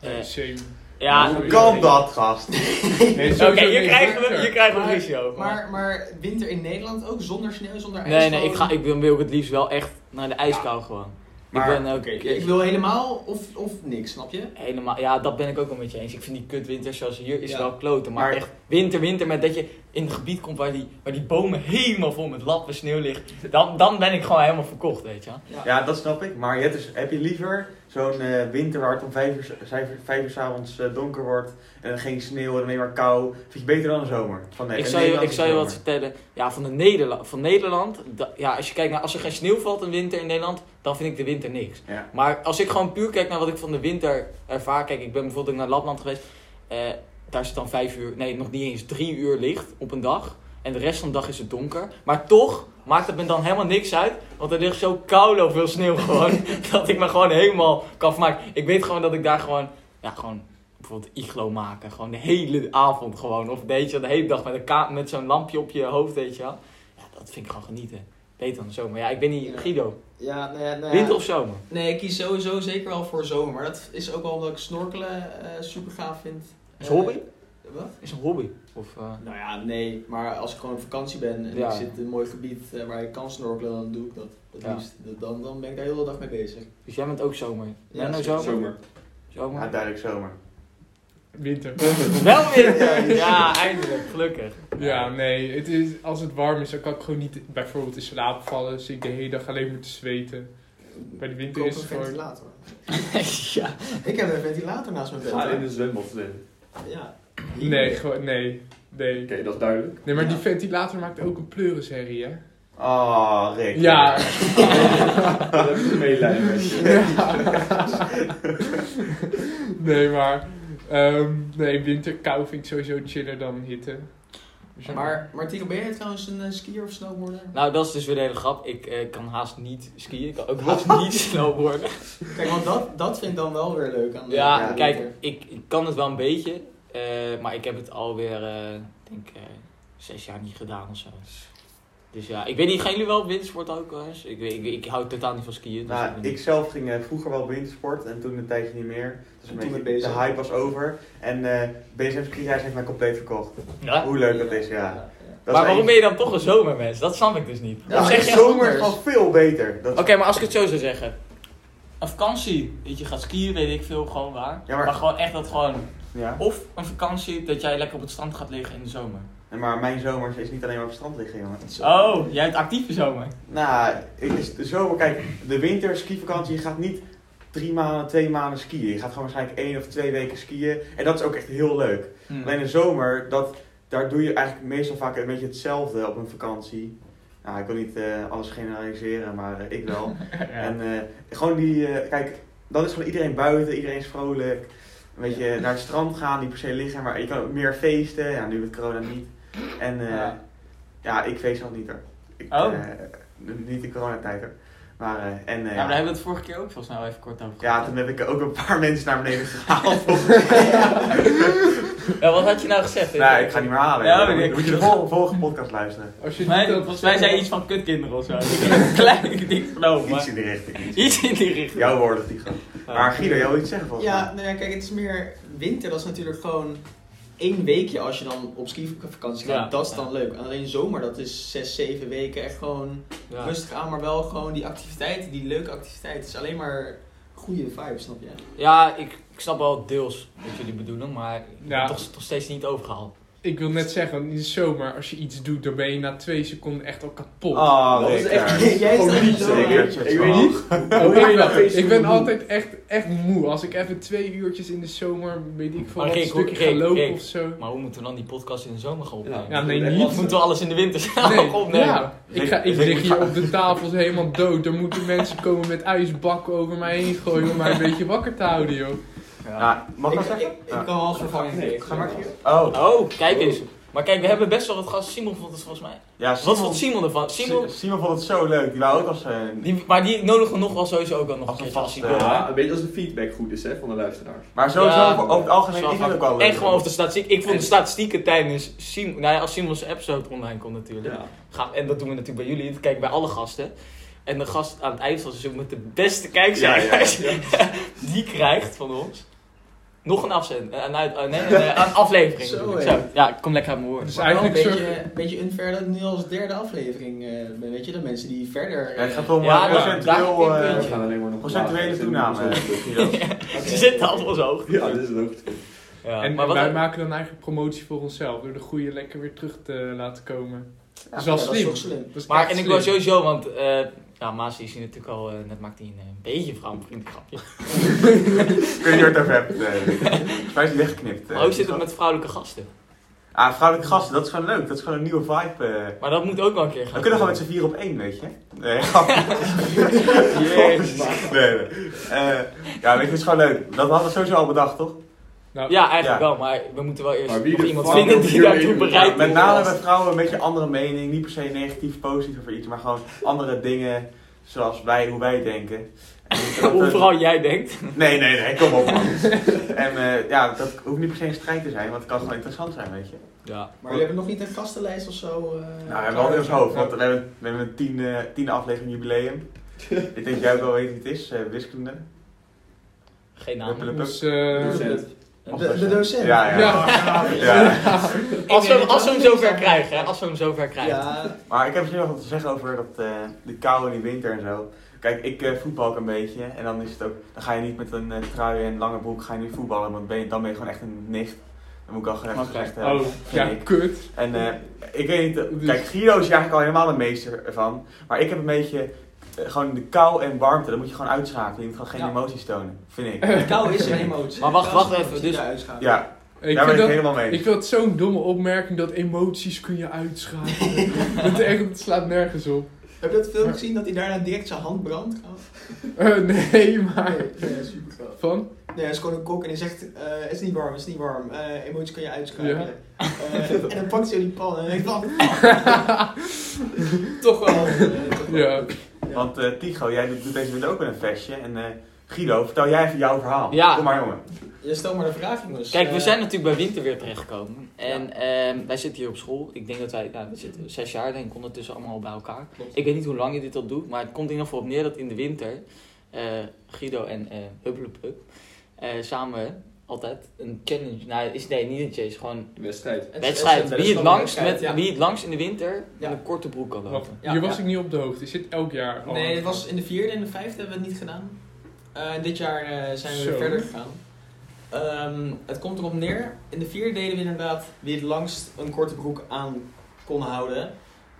S1: Eh,
S3: Nee, same.
S1: ja,
S2: Hoe kan dat, gast?
S3: Nee,
S1: Oké,
S3: sowieso
S1: je
S3: niet
S1: krijgt
S3: winter.
S1: er- je krijgt er
S4: Maar-
S1: ruzie over. maar-
S4: Maar, maar winter in Nederland ook? Zonder sneeuw, zonder ijs?
S1: Nee, nee,
S4: gewoon?
S1: ik, ga, ik wil, wil ook het liefst wel echt naar de ijskou gewoon.
S2: Maar-
S1: ik ben ook...
S4: Oké, ik wil helemaal of, of niks, snap je?
S1: Helemaal, ja, dat ben ik ook wel met je eens. Ik vind die kutwinters zoals hier is
S4: Ja.
S1: wel kloten. Maar,
S2: Maar-
S1: echt winter, winter, met dat je in een gebied komt waar die, waar die bomen helemaal vol met lappen sneeuw ligt. Dan, dan ben ik gewoon helemaal verkocht, weet je wel.
S2: Ja, dat snap ik. Maar je hebt dus, heb je liever zo'n eh, winter waar het om vijf uur, s- vijf, uur- vijf uur s'avonds eh, donker wordt en geen sneeuw en alleen maar kou? Vind je beter dan een zomer? Van, nee,
S1: ik
S2: een
S1: zou je, ik
S2: Nederlandse
S1: zou je wat
S2: zomer.
S1: vertellen. Ja, van, de Nederla van Nederland. da- ja, als je kijkt naar als er geen sneeuw valt in winter in Nederland, dan vind ik de winter niks.
S2: Ja.
S1: Maar als ik gewoon puur kijk naar wat ik van de winter ervaar. Kijk, ik ben bijvoorbeeld ook naar Lapland geweest. Eh, daar zit dan vijf uur, nee, nog niet eens drie uur licht op een dag. En de rest van de dag is het donker. Maar toch maakt het me dan helemaal niks uit. Want er ligt zo koude veel sneeuw gewoon. dat ik me gewoon helemaal kan vermaken. Ik weet gewoon dat ik daar gewoon, ja, gewoon bijvoorbeeld iglo maken. Gewoon de hele avond gewoon. Of weet je, wel, de hele dag met, een ka- met zo'n lampje op je hoofd, weet je wel. Ja, dat vind ik gewoon genieten. Beter dan de zomer. Ja, ik ben niet Guido.
S4: Ja, nee, nee.
S1: Winter of zomer?
S4: Nee, ik kies sowieso zeker wel voor zomer. Maar dat is ook wel omdat ik snorkelen eh super gaaf vind.
S1: Is hobby?
S4: Eh, Wat?
S1: Is een hobby. Of, eh,
S4: Nou ja, nee, maar als ik gewoon op vakantie ben en
S1: Ja.
S4: ik zit in een mooi gebied eh, waar ik kan snorkelen, dan doe ik dat het
S1: Ja.
S4: liefst. Dat- Dan, dan ben ik daar heel de dag mee bezig.
S1: dus jij bent ook zomer.
S4: Ja,
S1: Ja, nou
S4: zeker.
S1: zomer.
S5: Zomer.
S1: Zomer.
S2: Ja, duidelijk zomer.
S3: Winter.
S1: Wel weer! Ja, eindelijk, gelukkig.
S3: Ja, nee. Het is, als het warm is, dan kan ik gewoon niet bijvoorbeeld in slaap vallen. Zit ik de hele dag alleen maar te zweten. Bij de winter
S4: Koop
S3: is
S4: een
S3: het gewoon...
S4: ventilator.
S1: ja.
S4: Ik heb een ventilator naast mijn bed.
S5: Ga in de zwembad zwemmen.
S4: Ja.
S3: Nee, gewoon, nee. Nee.
S5: Oké, dat is duidelijk.
S3: Nee, maar die
S4: Ja.
S3: ventilator maakt ook een pleurisherrie, hè?
S2: Ah, Rick.
S3: Ja.
S5: Dat heb ik medelijden met je.
S3: nee, maar... ehm, nee, winter, kou vind ik sowieso chiller dan hitte. Dus ja.
S4: Maar, maar Tiro, ben jij trouwens een eh, skier of snowboarder?
S1: Nou, dat is dus weer de hele grap. Ik eh, kan haast niet skiën. Ik kan ook haast niet snowboarden.
S4: Kijk, want dat, dat vind ik dan wel weer leuk aan de
S1: Ja,
S4: aan de
S1: kijk,
S4: winter.
S1: ik, ik kan het wel een beetje. eh, maar ik heb het alweer, eh, ik denk eh, zes jaar niet gedaan of zo. Dus ja, ik weet niet, gaan jullie wel op wintersport ook wel eens? Ik, weet- ik, ik hou totaal niet van skiën. Dus
S2: Nou, ik zelf ging eh, vroeger wel op wintersport en toen een tijdje niet meer. Dus een
S4: En toen
S2: beetje,
S4: met
S2: de
S4: BSM.
S2: hype was over. En eh BSM Skireis heeft mij compleet verkocht.
S1: Ja?
S2: Hoe leuk dat is, ja. Dat is
S1: Nou, Maar waarom
S2: echt-
S1: ben je dan toch een zomermens? Dat snap ik dus niet.
S4: Ja,
S1: Of
S2: Ja,
S1: zeg
S2: zeg
S1: je...
S2: zomer is
S4: anders?
S2: gewoon veel beter. Dat
S1: Oké, maar als ik het zo zou zeggen. Een vakantie, weet je, gaat skiën, weet ik veel, gewoon waar.
S2: Ja,
S1: maar...
S2: maar-
S1: gewoon echt dat gewoon...
S2: ja.
S1: Of een vakantie dat jij lekker op het strand gaat liggen in de zomer.
S2: Nee, Maar mijn zomers is niet alleen maar op het strand liggen, jongen.
S1: Oh, jij hebt actieve zomer.
S2: Nou, ik is de zomer, kijk, de winter skivakantie, je gaat niet drie maanden, twee maanden skiën. Je gaat gewoon waarschijnlijk één of twee weken skiën. En dat is ook echt heel leuk.
S1: Hm.
S2: Alleen de zomer, dat, daar doe je eigenlijk meestal vaak een beetje hetzelfde op een vakantie. Nou, ik wil niet eh, alles generaliseren, maar eh, ik wel. En eh, gewoon die, eh, kijk, dan is gewoon iedereen buiten, iedereen is vrolijk. Een beetje naar het strand gaan, niet per se liggen, maar je kan ook meer feesten. Ja, nu met corona niet. En eh,
S1: Ja.
S2: ja. ik feest nog niet hoor. Ik,
S1: Oh.
S2: eh, niet in coronatijd hoor. Maar, eh, en,
S1: Ja,
S2: eh,
S1: maar daar hebben we het vorige keer ook volgens mij wel even kort over
S2: ja,
S1: gehad.
S2: toen heb ik ook een paar mensen naar beneden gehaald.
S1: Ja, wat had je nou gezegd?
S2: nee, ik ga niet meer halen.
S1: Ja,
S2: Dan
S1: maar
S2: moet-
S1: ik-
S2: moet je de vol- volgende podcast luisteren.
S3: Als je
S1: Nee,
S3: niet had
S1: volgens mij zei je iets van kutkinderen of zo. Ik heb een klein ding genomen.
S2: Iets
S1: Oh, maar-
S2: in die richting. iets.
S1: Iets in die richting.
S2: Jouw woorden, Tigo. Maar Guido, jij wil iets zeggen volgens
S4: Ja,
S2: mij.
S4: nou ja, kijk, het is meer winter. Dat is natuurlijk gewoon één weekje als je dan op skivakantie gaat.
S1: Ja.
S4: Dat is dan leuk. Alleen zomer, dat is zes, zeven weken echt gewoon
S1: Ja.
S4: rustig aan. Maar wel gewoon die activiteiten, die leuke activiteiten. Het is alleen maar goede vibes, snap je?
S1: Ja, ik, ik snap wel deels wat jullie bedoelen, maar ik
S3: Ja.
S1: ben toch, toch steeds niet overgehaald.
S3: Ik wil net zeggen, in de zomer, als je iets doet, dan ben je na twee seconden echt al kapot.
S2: Ah,
S5: Oh, Dat is
S2: lekker.
S5: echt
S4: Jij staat
S5: gewoon
S4: niet
S5: niet
S4: zo
S5: zeker.
S2: aan.
S5: Ik weet niet.
S3: Oh, ik,
S5: na
S3: ben,
S5: twee
S3: ik ben
S5: seconden
S3: altijd echt, echt moe. Als ik even twee uurtjes in de zomer, weet ik veel,
S1: Maar
S3: wat, een
S1: Rick, hoe-
S3: stukje
S1: Rick,
S3: ga lopen
S1: Rick.
S3: of zo.
S1: Maar hoe moeten we dan die podcast in de zomer gaan opnemen?
S3: Ja, nee,
S5: dat is
S3: niet.
S1: Of
S5: lastig.
S1: moeten we alles in de winter
S3: Nee,
S1: ook opnemen?
S3: ja. ik, ga, ik
S2: Ik- ik-
S3: lig hier op de tafel helemaal dood. Dan moeten mensen komen met ijsbakken over mij heen gooien om mij een beetje wakker te houden, joh.
S2: Ja, mag ik
S4: ik,
S2: dat zeggen?
S4: ik, ik kan wel als vervanging
S5: Nee,
S4: tegen.
S5: ga maar, Guido.
S2: Oh,
S1: Oh, kijk eens. Maar kijk, we hebben best wel wat gast. Simon vond het volgens mij.
S2: ja,
S1: Wat vond Simon ervan? Simon,
S2: Si- Simon vond het zo leuk. Die wou ook als... eh,
S1: die, maar die nodigen we nog wel sowieso ook wel nog
S2: Als
S1: een
S2: een
S1: keer als
S2: vaste-
S1: hij wil.
S5: Ja, een beetje als de feedback goed is hè, van de luisteraars.
S2: maar sowieso,
S1: Ja.
S2: over over het algemeen
S1: Zo
S2: is het
S1: vaak-
S2: ook wel leuk.
S1: En gewoon over de statistiek. Ik vond de statistieken tijdens Simon, nou ja, als Simon's episode online komt natuurlijk.
S5: Ja.
S1: Gaaf. En dat doen we natuurlijk bij jullie. Dat kijken bij alle gasten. En de gast aan het eind van het seizoen met de beste kijkcijfers, die krijgt van ons nog een afzend. Een, uit- eh, nee, nee, nee, een aflevering.
S4: Zo,
S1: bedoel ik.
S4: hé.
S1: Zo. Ja, ik kom lekker aan mijn woorden.
S3: Dus
S4: Maar wel
S3: eigenlijk
S4: een
S3: zorg...
S4: beetje, een beetje unfair dat ik nu als derde aflevering eh, ben. Weet je, de mensen die verder...
S2: Ja, het
S4: eh,
S2: gaat om
S1: Ja,
S2: ja,
S1: dat-
S2: procentueel...
S1: daar-
S2: eh,
S5: We gaan alleen maar nog
S2: procentuele
S5: lager.
S2: toename, Guido.
S1: Ze zitten allemaal zo hoog.
S5: Ja, dit is het ook.
S1: Ja,
S3: En
S1: maar wat
S3: wij maken dan eigenlijk promotie voor onszelf. Door de goede lekker weer terug te laten komen.
S4: ja,
S3: dat is wel
S4: ja,
S3: slim.
S4: toch slim.
S3: Dat is
S1: maar
S3: echt
S1: en ik
S3: slim.
S1: wil sowieso, want eh ja, Maas is hier natuurlijk al, eh, net maakt hij een, eh, beetje vrouwenvriendelijk grapje.
S2: Ik weet niet waar je het over hebt. eh. Hij is weggeknipt. eh.
S1: Maar hoe zit het met vrouwelijke gasten?
S2: Ah, vrouwelijke gasten, dat is gewoon leuk. Dat is gewoon een nieuwe vibe. eh.
S1: Maar dat moet ook wel een keer gaan.
S2: We kunnen gewoon met z'n vier op één, weet je. Eh, Nee, Jezus. Nee, nee. Eh, ja, weet je, het is gewoon leuk. Dat hadden we sowieso al bedacht, toch?
S3: Nou,
S1: Ja, eigenlijk
S2: Ja.
S1: wel, maar we moeten wel eerst
S5: Maar wie
S1: nog
S5: de
S1: iemand
S5: fuck
S1: vinden
S5: wil
S1: die
S5: hier
S1: daartoe
S5: in-
S1: bereid
S2: Met
S1: is.
S2: name hebben vrouwen een beetje andere mening. Niet per se negatief, positief over iets, maar gewoon andere dingen zoals wij, hoe wij denken. En dat- eh,
S1: Hoe vooral jij denkt.
S2: Nee, nee, nee, kom op man. En eh, ja, dat hoeft niet per se een strijd te zijn, want het kan gewoon interessant zijn, weet je.
S1: Ja.
S4: Maar we hebben nog niet een gastenlijst of zo. eh,
S2: Nou, we hebben wel in ons hoofd, want we hebben, we hebben een tien, eh, tiende aflevering jubileum. Ik denk jij ook wel weet wie het is, eh, wiskunde.
S1: Geen naam.
S2: Huppelepup.
S3: dus, eh,
S5: Docent.
S1: Een-
S2: Of
S4: De, de docent.
S5: Ja, ja.
S3: Ja.
S1: Als we, als we hem zover krijgen, hè? Als we hem zover krijgen.
S4: Ja,
S2: Maar ik heb misschien nog wat te zeggen over dat, eh de kou en die winter en zo. Kijk, ik eh, voetbal ook een beetje. En dan is het ook, dan ga je niet met een eh, trui en lange broek ga je niet voetballen. Want ben je, dan ben je gewoon echt een nicht. Dan moet ik al gewoon even
S1: Oké.
S2: gezegd hebben.
S3: Oh, ja, kut.
S2: En eh, ik weet niet, eh, kijk, Guido is hier eigenlijk al helemaal de meester van. Maar ik heb een beetje eh, gewoon de kou en warmte, dat moet je gewoon uitschakelen. Je moet gewoon geen
S4: Ja.
S2: emoties tonen, vind ik.
S4: de kou is een emotie.
S1: Maar wacht,
S4: Kou is
S1: wacht
S4: een
S1: even,
S4: emotie
S1: dus-
S4: die je uitschakelt.
S2: Ja,
S3: Ik
S2: daar ben
S3: vind,
S2: ik
S3: dat,
S2: helemaal mee.
S3: ik
S2: eens.
S3: vind dat zo'n domme opmerking dat emoties kun je uitschakelen. dat, is echt, dat slaat nergens op.
S4: Heb je dat film gezien dat hij daarna direct zijn hand brandt?
S3: Eh, nee, maar...
S4: Nee, nee, super gaaf.
S3: Van?
S4: Nee, hij is gewoon een kok en hij zegt, eh, het is niet warm, het is niet warm. Eh emoties kan je uitschakelen.
S3: Ja.
S4: Eh, en dan pakt hij die pan en dan denkt van, toch wel. eh, toch wel.
S3: Ja.
S2: Want eh Tycho, jij doet doet deze winter ook wel een vestje. En eh, Guido, vertel jij even jouw verhaal.
S1: Ja.
S2: Kom maar jongen.
S4: Je stel maar de vraag,
S2: Dus,
S4: jongens.
S1: Kijk, we
S4: Eh,
S1: zijn natuurlijk bij winter weer terechtgekomen. En ehm, wij zitten hier op school. Ik denk dat wij, nou, we zitten zes jaar denk ik ondertussen allemaal bij elkaar.
S4: klopt.
S1: Ik weet niet hoe lang je dit al doet, maar het komt in ieder geval op neer dat in de winter eh, Guido en eh Huppelepup eh, samen altijd een challenge, nou is nee niet een challenge, gewoon
S5: Wedstrijd.
S4: Het is-
S1: wedstrijd.
S4: het is een
S1: Wie het, langst met,
S4: wedstrijd, ja.
S1: wie het langst in de winter
S4: Ja.
S1: met een korte broek kan
S3: Wacht,
S1: lopen.
S4: Ja,
S3: hier was
S4: ja.
S3: ik niet op de hoogte. Is dit elk jaar al?
S4: Nee, het was in de vierde en de vijfde hebben we het niet gedaan. Eh, dit jaar eh, zijn we
S3: Zo.
S4: weer verder gegaan. Ehm, het komt erop neer. In de vierde deden we inderdaad wie het langst een korte broek aan kon houden.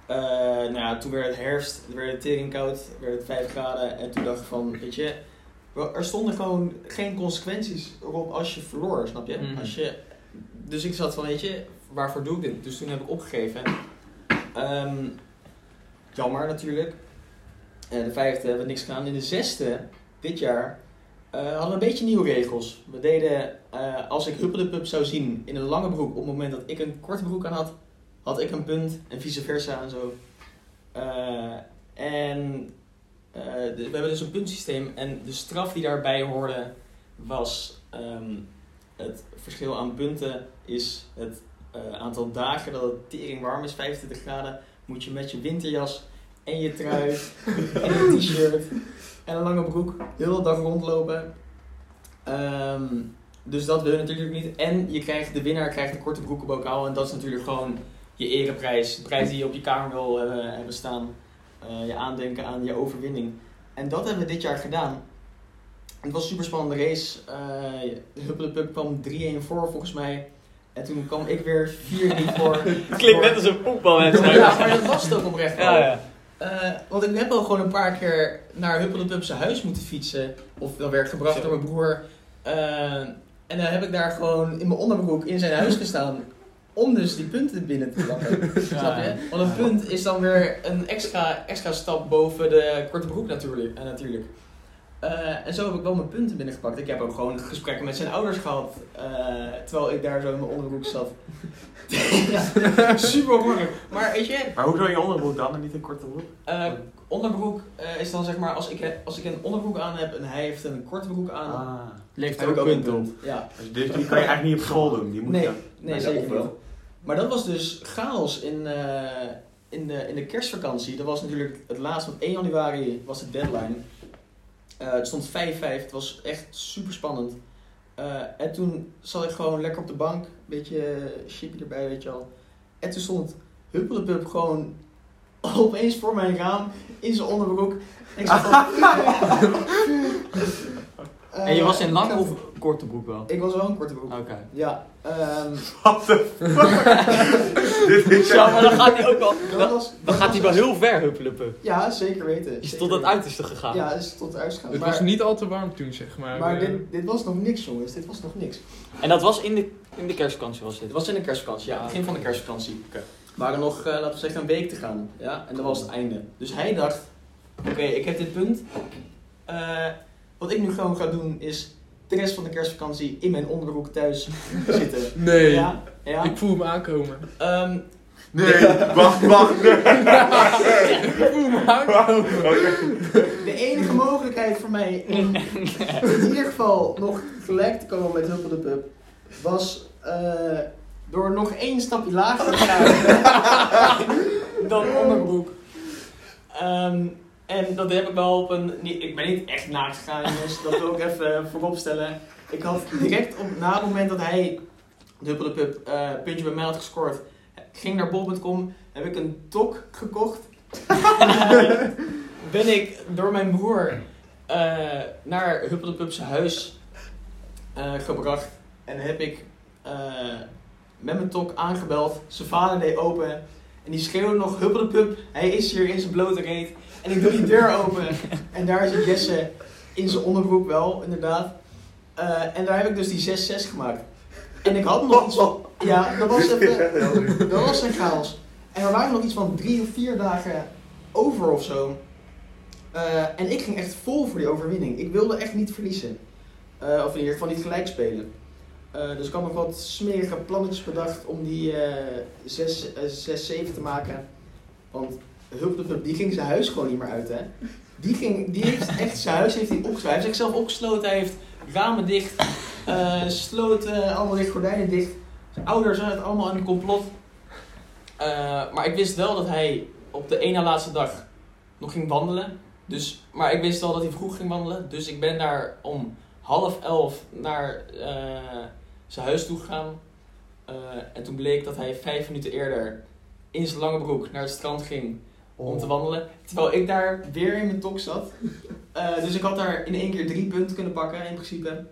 S4: Eh, nou ja, toen werd het herfst, toen werd het tering koud, werd het 5 graden. En toen dacht ik van, weet je, wel, er stonden gewoon geen consequenties erop als je verloor, snap je?
S1: Mhm.
S4: Als je dus ik zat van, weet je, waarvoor doe ik dit? Dus toen heb ik opgegeven. Ehm, jammer natuurlijk. Eh, de vijfde hebben we niks gedaan. In de zesde, dit jaar, eh, hadden we een beetje nieuwe regels. We deden, eh, als ik Huppelepup zou zien in een lange broek, op het moment dat ik een korte broek aan had, had ik een punt en vice versa en zo. Eh, en eh, de- we hebben dus een puntsysteem en de straf die daarbij hoorde was ehm, het verschil aan punten is het eh, aantal dagen dat het tering warm is, 25 graden, moet je met je winterjas en je trui en een t-shirt en een lange broek heel de dag rondlopen. Ehm, dus dat wil je natuurlijk niet. En je krijgt, de winnaar krijgt een korte broekenbokaal en dat is natuurlijk gewoon je ereprijs. De prijs die je op je kamer wil hebben, hebben staan. Eh, je aandenken aan je overwinning. En dat hebben we dit jaar gedaan. Het was een super spannende race. Eh de Huppelepup kwam 3-1 voor volgens mij. En toen kwam ik weer 4-3 voor.
S1: Het klinkt net als een voetbalwedstrijd.
S4: Ja, maar dat was het ook oprecht wel.
S1: Ja, ja.
S4: Eh, want ik heb al gewoon een paar keer naar Huppelepup zijn huis moeten fietsen. Of dat werd gebracht
S1: Zo.
S4: door mijn broer. Eh, en dan heb ik daar gewoon in mijn onderbroek in zijn huis gestaan. Om dus die punten binnen te plakken. Snap je? Want een punt is dan weer een extra, extra stap boven de korte broek natuurlijk. eh, natuurlijk. Eh, en zo heb ik wel mijn punten binnengepakt. Ik heb ook gewoon gesprekken met zijn ouders gehad. eh, terwijl ik daar zo in mijn onderbroek zat. ja, super moeilijk. Maar weet je,
S2: Maar hoezo in je onderbroek dan en niet een korte broek?
S4: eh, onderbroek eh, is dan zeg maar, als ik, als ik een onderbroek aan heb en hij heeft een korte broek aan,
S2: Ah.
S4: leeft
S1: hij ook punt
S4: Ja,
S2: Dus die kan je eigenlijk niet op school doen. Die moet
S4: nee,
S2: je-
S4: nee
S5: ja,
S4: zeker
S5: of
S4: niet.
S5: wel.
S4: Maar dat was dus chaos in, eh, in, de, in de kerstvakantie. Dat was natuurlijk het laatste, want 1 januari was de deadline. Eh, het stond 5-5, het was echt super spannend. en toen zat ik gewoon lekker op de bank, een beetje eh, chippy erbij, weet je al. En toen stond Huppelepup gewoon opeens voor mijn raam in zijn onderbroek. En ik zat van, Eh,
S1: En je was in lang
S4: ik-
S1: of korte broek wel?
S4: Ik was wel een korte broek.
S1: Oké.
S4: Ja, ehm,
S2: What the fuck? Dit is
S1: Zo, maar dan gaat hij ook wel.
S4: dat
S1: Dan,
S4: was,
S1: dan
S4: dat
S1: gaat
S4: was
S1: hij wel
S4: echt-
S1: heel ver huppelepup.
S4: Ja, zeker weten.
S1: Is
S4: zeker
S1: tot dat
S4: weten.
S1: uiterste gegaan.
S4: Ja, is tot het uitgaan.
S3: Het
S4: maar,
S3: was niet al te warm toen, zeg maar.
S4: Maar
S3: Eh,
S4: dit, dit was nog niks, jongens. Dit was nog niks.
S1: En dat was in de, in de kerstvakantie was dit.
S4: Het was in de kerstvakantie, ja. Begin van de kerstvakantie. We waren nog, eh, laten we zeggen, een week te gaan. Ja, en dat was het einde. Dus hij dacht, oké, ik heb dit punt. Eh, wat ik nu gewoon ga doen is de rest van de kerstvakantie in mijn onderbroek thuis zitten.
S3: Nee,
S4: Ja, ja.
S3: ik voel hem aankomen.
S4: Ehm,
S2: Nee, wacht, wacht.
S3: ik voel hem aankomen.
S4: De enige mogelijkheid voor mij om in ieder geval nog gelijk te komen met Huppel de Pup was eh, door nog één stapje lager te gaan dan onderbroek. Ehm, en dat heb ik wel op een. niet- Ik ben niet echt naakt gegaan, jongens, dat wil ik even voorop stellen. Ik had direct op, na het moment dat hij dubbele pup eh, puntje bij mij had gescoord, ging naar bol.com, heb ik een tok gekocht. ben ik door mijn broer eh, naar Huppelepups huis eh, gebracht. En heb ik eh, met mijn tok aangebeld. Zijn vader deed open. En die schreeuwde nog Huppelepup. Hij is hier in zijn blote reet. En ik doe die deur open. En daar zit Jesse in zijn onderbroek wel, inderdaad. Eh, en daar heb ik dus die 6-6 gemaakt. En ik had nog iets van... Ja, dat was
S2: Dit is
S4: even...
S2: echt heel duur.
S4: Dat was een chaos. En er waren nog iets van drie of vier dagen over of zo. Eh, en ik ging echt vol voor die overwinning. Ik wilde echt niet verliezen. Eh, of in ieder geval niet gelijk spelen. Eh, dus ik had nog wat smerige plannetjes bedacht om die eh, zes- eh, 6-7 te maken. Want Hulp de Pup, die ging zijn huis gewoon niet meer uit, hè. Die, ging, die heeft echt zijn huis heeft hij opgesloten. Hij heeft zichzelf opgesloten, hij heeft ramen dicht, eh, sloten, allemaal dicht, gordijnen dicht. Zijn ouders zijn het allemaal in een complot. Eh, maar ik wist wel dat hij op de ene laatste dag nog ging wandelen. Dus, maar ik wist wel dat hij vroeg ging wandelen. Dus ik ben daar om half elf naar eh, zijn huis toe gegaan. Eh, en toen bleek dat hij vijf minuten eerder in zijn lange broek naar het strand ging om te wandelen. Terwijl ik daar weer in mijn tok zat. Eh, dus ik had daar in één keer drie punten kunnen pakken in principe.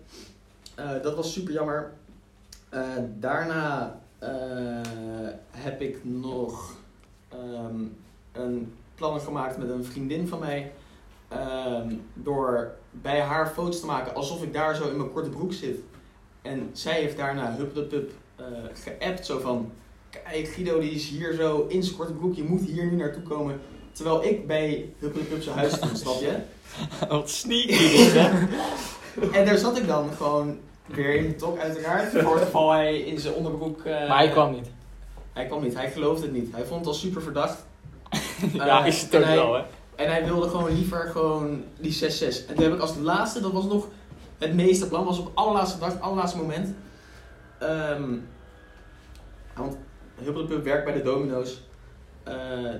S4: Eh, dat was super jammer. Eh, daarna eh, heb ik nog ehm, een plannen gemaakt met een vriendin van mij. Ehm, door bij haar foto's te maken alsof ik daar zo in mijn korte broek zit. En zij heeft daarna hup de pup eh, geappt. Zo van, kijk Guido die is hier zo in zijn korte broek. Je moet hier nu naartoe komen. Terwijl ik bij hup de pup zijn huis stond, snap je?
S1: Wat sneaky dit, hè?
S4: En daar zat ik dan gewoon weer in de tok uiteraard. Voor het geval hij in zijn onderbroek... eh,
S1: Maar hij kwam niet.
S4: Hij kwam niet, hij geloofde het niet. Hij vond het al super verdacht.
S1: ja, is het
S4: en
S1: ook
S4: hij-
S1: wel, hè?
S4: En hij wilde gewoon liever gewoon die 6-6. En toen heb ik als laatste, dat was nog het meeste plan, was op allerlaatste dag, allerlaatste moment. Ehm, want Huppelepup werkt bij de domino's. Eh,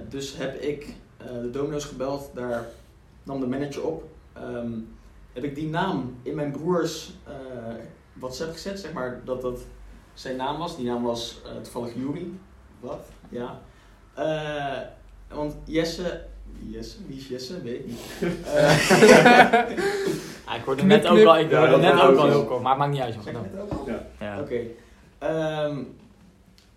S4: dus heb ik eh, de domino's gebeld, daar nam de manager op. Ehm, heb ik die naam in mijn broers eh, WhatsApp gezet, zeg maar, dat dat zijn naam was. Die naam was eh, toevallig Juri. Wat? Ja. Eh, want Jesse... Jesse? Wie is Jesse? Weet ik niet. Eh,
S1: Ah, ik hoorde
S3: Knip,
S1: net ook
S3: knip.
S1: al, ik
S5: Ja,
S1: hoorde
S5: dat
S1: net
S5: kan
S1: ook
S5: ook
S1: al
S5: niet.
S1: heel kort, maar het maakt niet uit. jongens,
S4: zeg ik
S1: dan.
S4: het ook al?
S1: Ja.
S4: Oké. Ehm,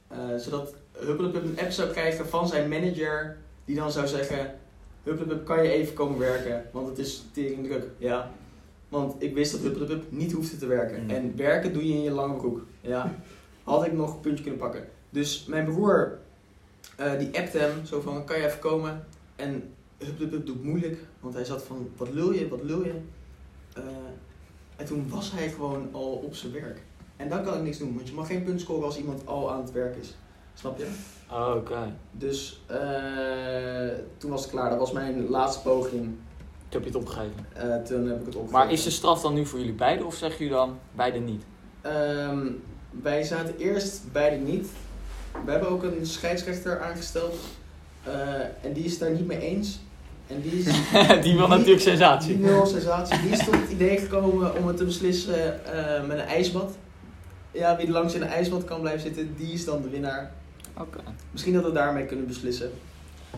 S4: eh, zodat Huppelepup een app zou krijgen van zijn manager, die dan zou zeggen: Huppelepup, kan je even komen werken? Want het is tering druk. Ja. Want ik wist dat Huppelepup niet hoefde te werken.
S1: Mm.
S4: En werken doe je in je lange broek. Ja. Had ik nog een puntje kunnen pakken. Dus mijn broer, eh, die appte hem zo van: kan je even komen? En Huppelepup doet moeilijk, want hij zat van: wat lul je, wat lul je? Eh, en toen was hij gewoon al op zijn werk. En dan kan ik niks doen, want je mag geen punt scoren als iemand al aan het werk is. Snap je?
S1: Oh, Oké.
S4: Dus eh, toen was het klaar. Dat was mijn laatste poging.
S1: Ik heb je het opgegeven.
S4: Eh, toen heb ik het opgegeven.
S1: Maar is de straf dan nu voor jullie beiden of zeggen jullie dan beiden niet?
S4: Ehm, wij zaten eerst beide niet. We hebben ook een scheidsrechter aangesteld. Eh, en die is het daar niet mee eens. En die is...
S1: Die wil natuurlijk sensatie.
S4: Die wil sensatie. Die is tot het idee gekomen om het te beslissen eh, met een ijsbad. Ja, wie er langs in een ijsbad kan blijven zitten, die is dan de winnaar.
S1: Oké.
S4: Misschien dat we daarmee kunnen beslissen.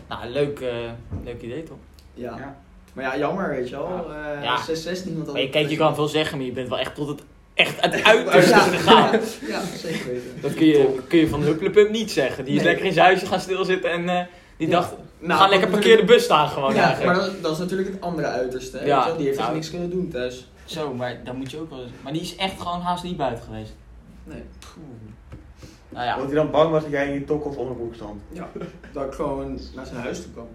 S1: Nou, leuk, eh, leuk idee toch?
S4: Ja.
S2: Ja.
S4: Maar ja, jammer, weet je wel. Eh
S1: Ja.
S4: 6-6, niemand had
S1: Maar je- kijk, je kan veel zeggen, maar je bent wel echt tot het, echt dus het uiterste
S4: Ja,
S1: gegaan.
S4: ja, ja, zeker weten.
S1: Dat kun je, kun je van Hupplepup niet zeggen. Die is
S4: Nee.
S1: lekker in zijn huisje gaan stilzitten en eh, die
S4: Ja.
S1: dacht, we
S4: Nou,
S1: gaan lekker
S4: dat
S1: parkeer de bus staan gewoon
S4: natuurlijk- Ja, maar
S1: eigenlijk.
S4: dat, dat is natuurlijk het andere uiterste. hè,
S1: Ja.
S4: weet je wel. Die heeft
S1: Nou.
S4: dus niks kunnen doen thuis.
S1: Zo, maar dan moet je ook wel eens... Maar die is echt gewoon haast niet buiten geweest.
S4: Nee.
S1: Nou ja,
S2: Omdat hij dan bang was dat jij in je tok of onderbroek stond.
S4: Dat ik gewoon naar zijn huis toe kwam.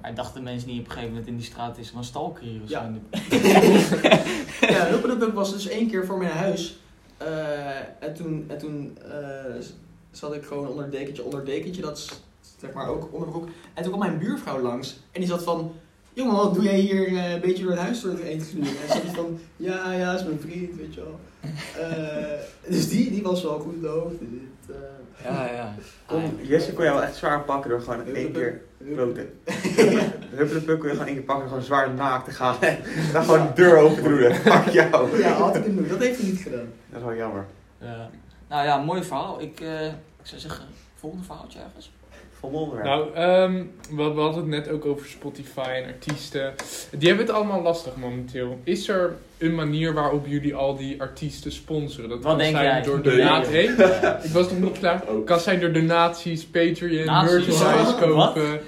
S1: maar dachten mensen niet op een gegeven moment in die straat is er een stalker hier of zo
S4: Ja.
S1: in de-
S4: ja, Huppelepup was dus één keer voor mijn huis. Eh, en toen, en toen eh, z- zat ik gewoon onder het dekentje, onder het dekentje, dat is zeg maar ook onderbroek. En toen kwam mijn buurvrouw langs en die zat van, jongen, wat doe jij hier eh, een beetje door het huis door het heen te gluren? En zei hij van, ja, ja, is mijn vriend, weet je wel. Eh, dus die, die was wel goed in de hoogte. Dit, eh,
S1: Ja, ja. Ah,
S2: Kom, Jesse kon jou wel echt zwaar pakken door gewoon in één keer kloten. Huppelepup kon je gewoon één keer pakken en gewoon zwaar naakt te gaan. Dan gewoon de deur open doen. hè. Fuck jou.
S4: Ja, had ik kunnen doen. Dat heeft hij niet gedaan.
S2: Dat is wel jammer.
S3: Ja.
S1: Nou ja, mooi verhaal. Ik, eh, ik zou zeggen, volgende verhaaltje ergens.
S2: Vol onderwerp.
S3: Nou, ehm, we, we hadden het net ook over Spotify en artiesten. Die hebben het allemaal lastig momenteel. Is er een manier waarop jullie al die artiesten sponsoren? Dat
S1: Wat denk
S3: zijn
S1: jij?
S3: door
S5: Nee.
S3: donaties.
S1: Nee.
S3: Ik was nog niet klaar.
S5: Ook.
S3: Kan zijn door donaties, Patreon,
S1: Naties.
S3: merchandise
S1: Wat?
S3: kopen,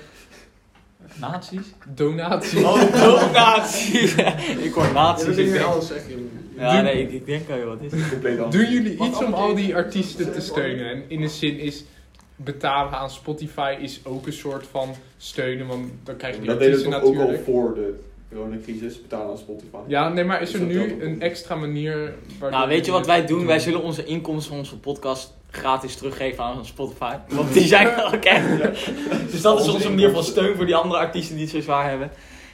S1: Nazi's?
S3: donaties.
S1: Oh, donaties. ik hoor
S4: Ja,
S1: nazi's.
S4: we
S1: ik
S4: kunnen weer
S1: denk-
S4: alles zeggen, jongen.
S1: Ja, nee, ik, ik denk, oh, wat is het?
S5: Compleet anders.
S3: Doen jullie
S4: Wat
S3: iets om
S4: allemaal
S3: al die
S4: tegen-
S3: artiesten te steunen? En in de zin is betalen aan Spotify is ook een soort van steunen, want dan krijg je die
S5: Dat deden
S3: artiesten
S5: we toch ook al
S3: natuurlijk.
S5: voor de coronacrisis, betalen aan Spotify.
S3: Ja, nee, maar is er
S5: Is dat
S3: nu
S5: dan-
S3: een extra manier waardoor
S1: Nou, weet je wat
S3: jullie
S1: wij
S3: het
S1: doen? Wij zullen onze inkomsten van onze podcast gratis teruggeven aan Spotify. Want die zijn er ook echt. Dus dat is onze manier van steun voor die andere artiesten die het zo zwaar hebben.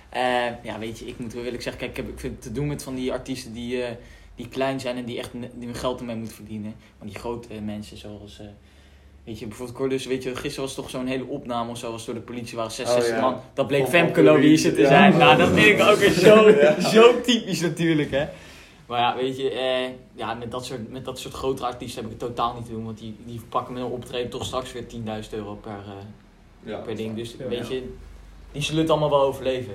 S1: Eh, ja, weet je, ik moet wel eerlijk zeggen, kijk, ik, heb, ik vind het te doen met van die artiesten die, eh, die klein zijn en die echt ne- die hun geld ermee moeten verdienen. Maar die grote mensen zoals, eh, weet je, bijvoorbeeld Cordus, weet je, gisteren was toch zo'n hele opname of zo, was door de politie, waren 66
S2: Oh, ja.
S1: man. Dat bleek
S5: Van-
S1: Femke
S5: van Louise,
S1: Louise te
S5: ja.
S1: zijn. Nou, dat vind ik ook weer zo,
S5: Ja.
S1: zo typisch natuurlijk, hè. Maar ja, weet je, eh, ja, met, dat soort, met dat soort grotere artiesten heb ik het totaal niet te doen. Want die, die pakken met een optreden toch straks weer 10.000 euro per, eh,
S5: Ja.
S1: per ding. Dus
S3: Ja,
S1: weet
S3: ja.
S1: je, die zullen het allemaal wel overleven.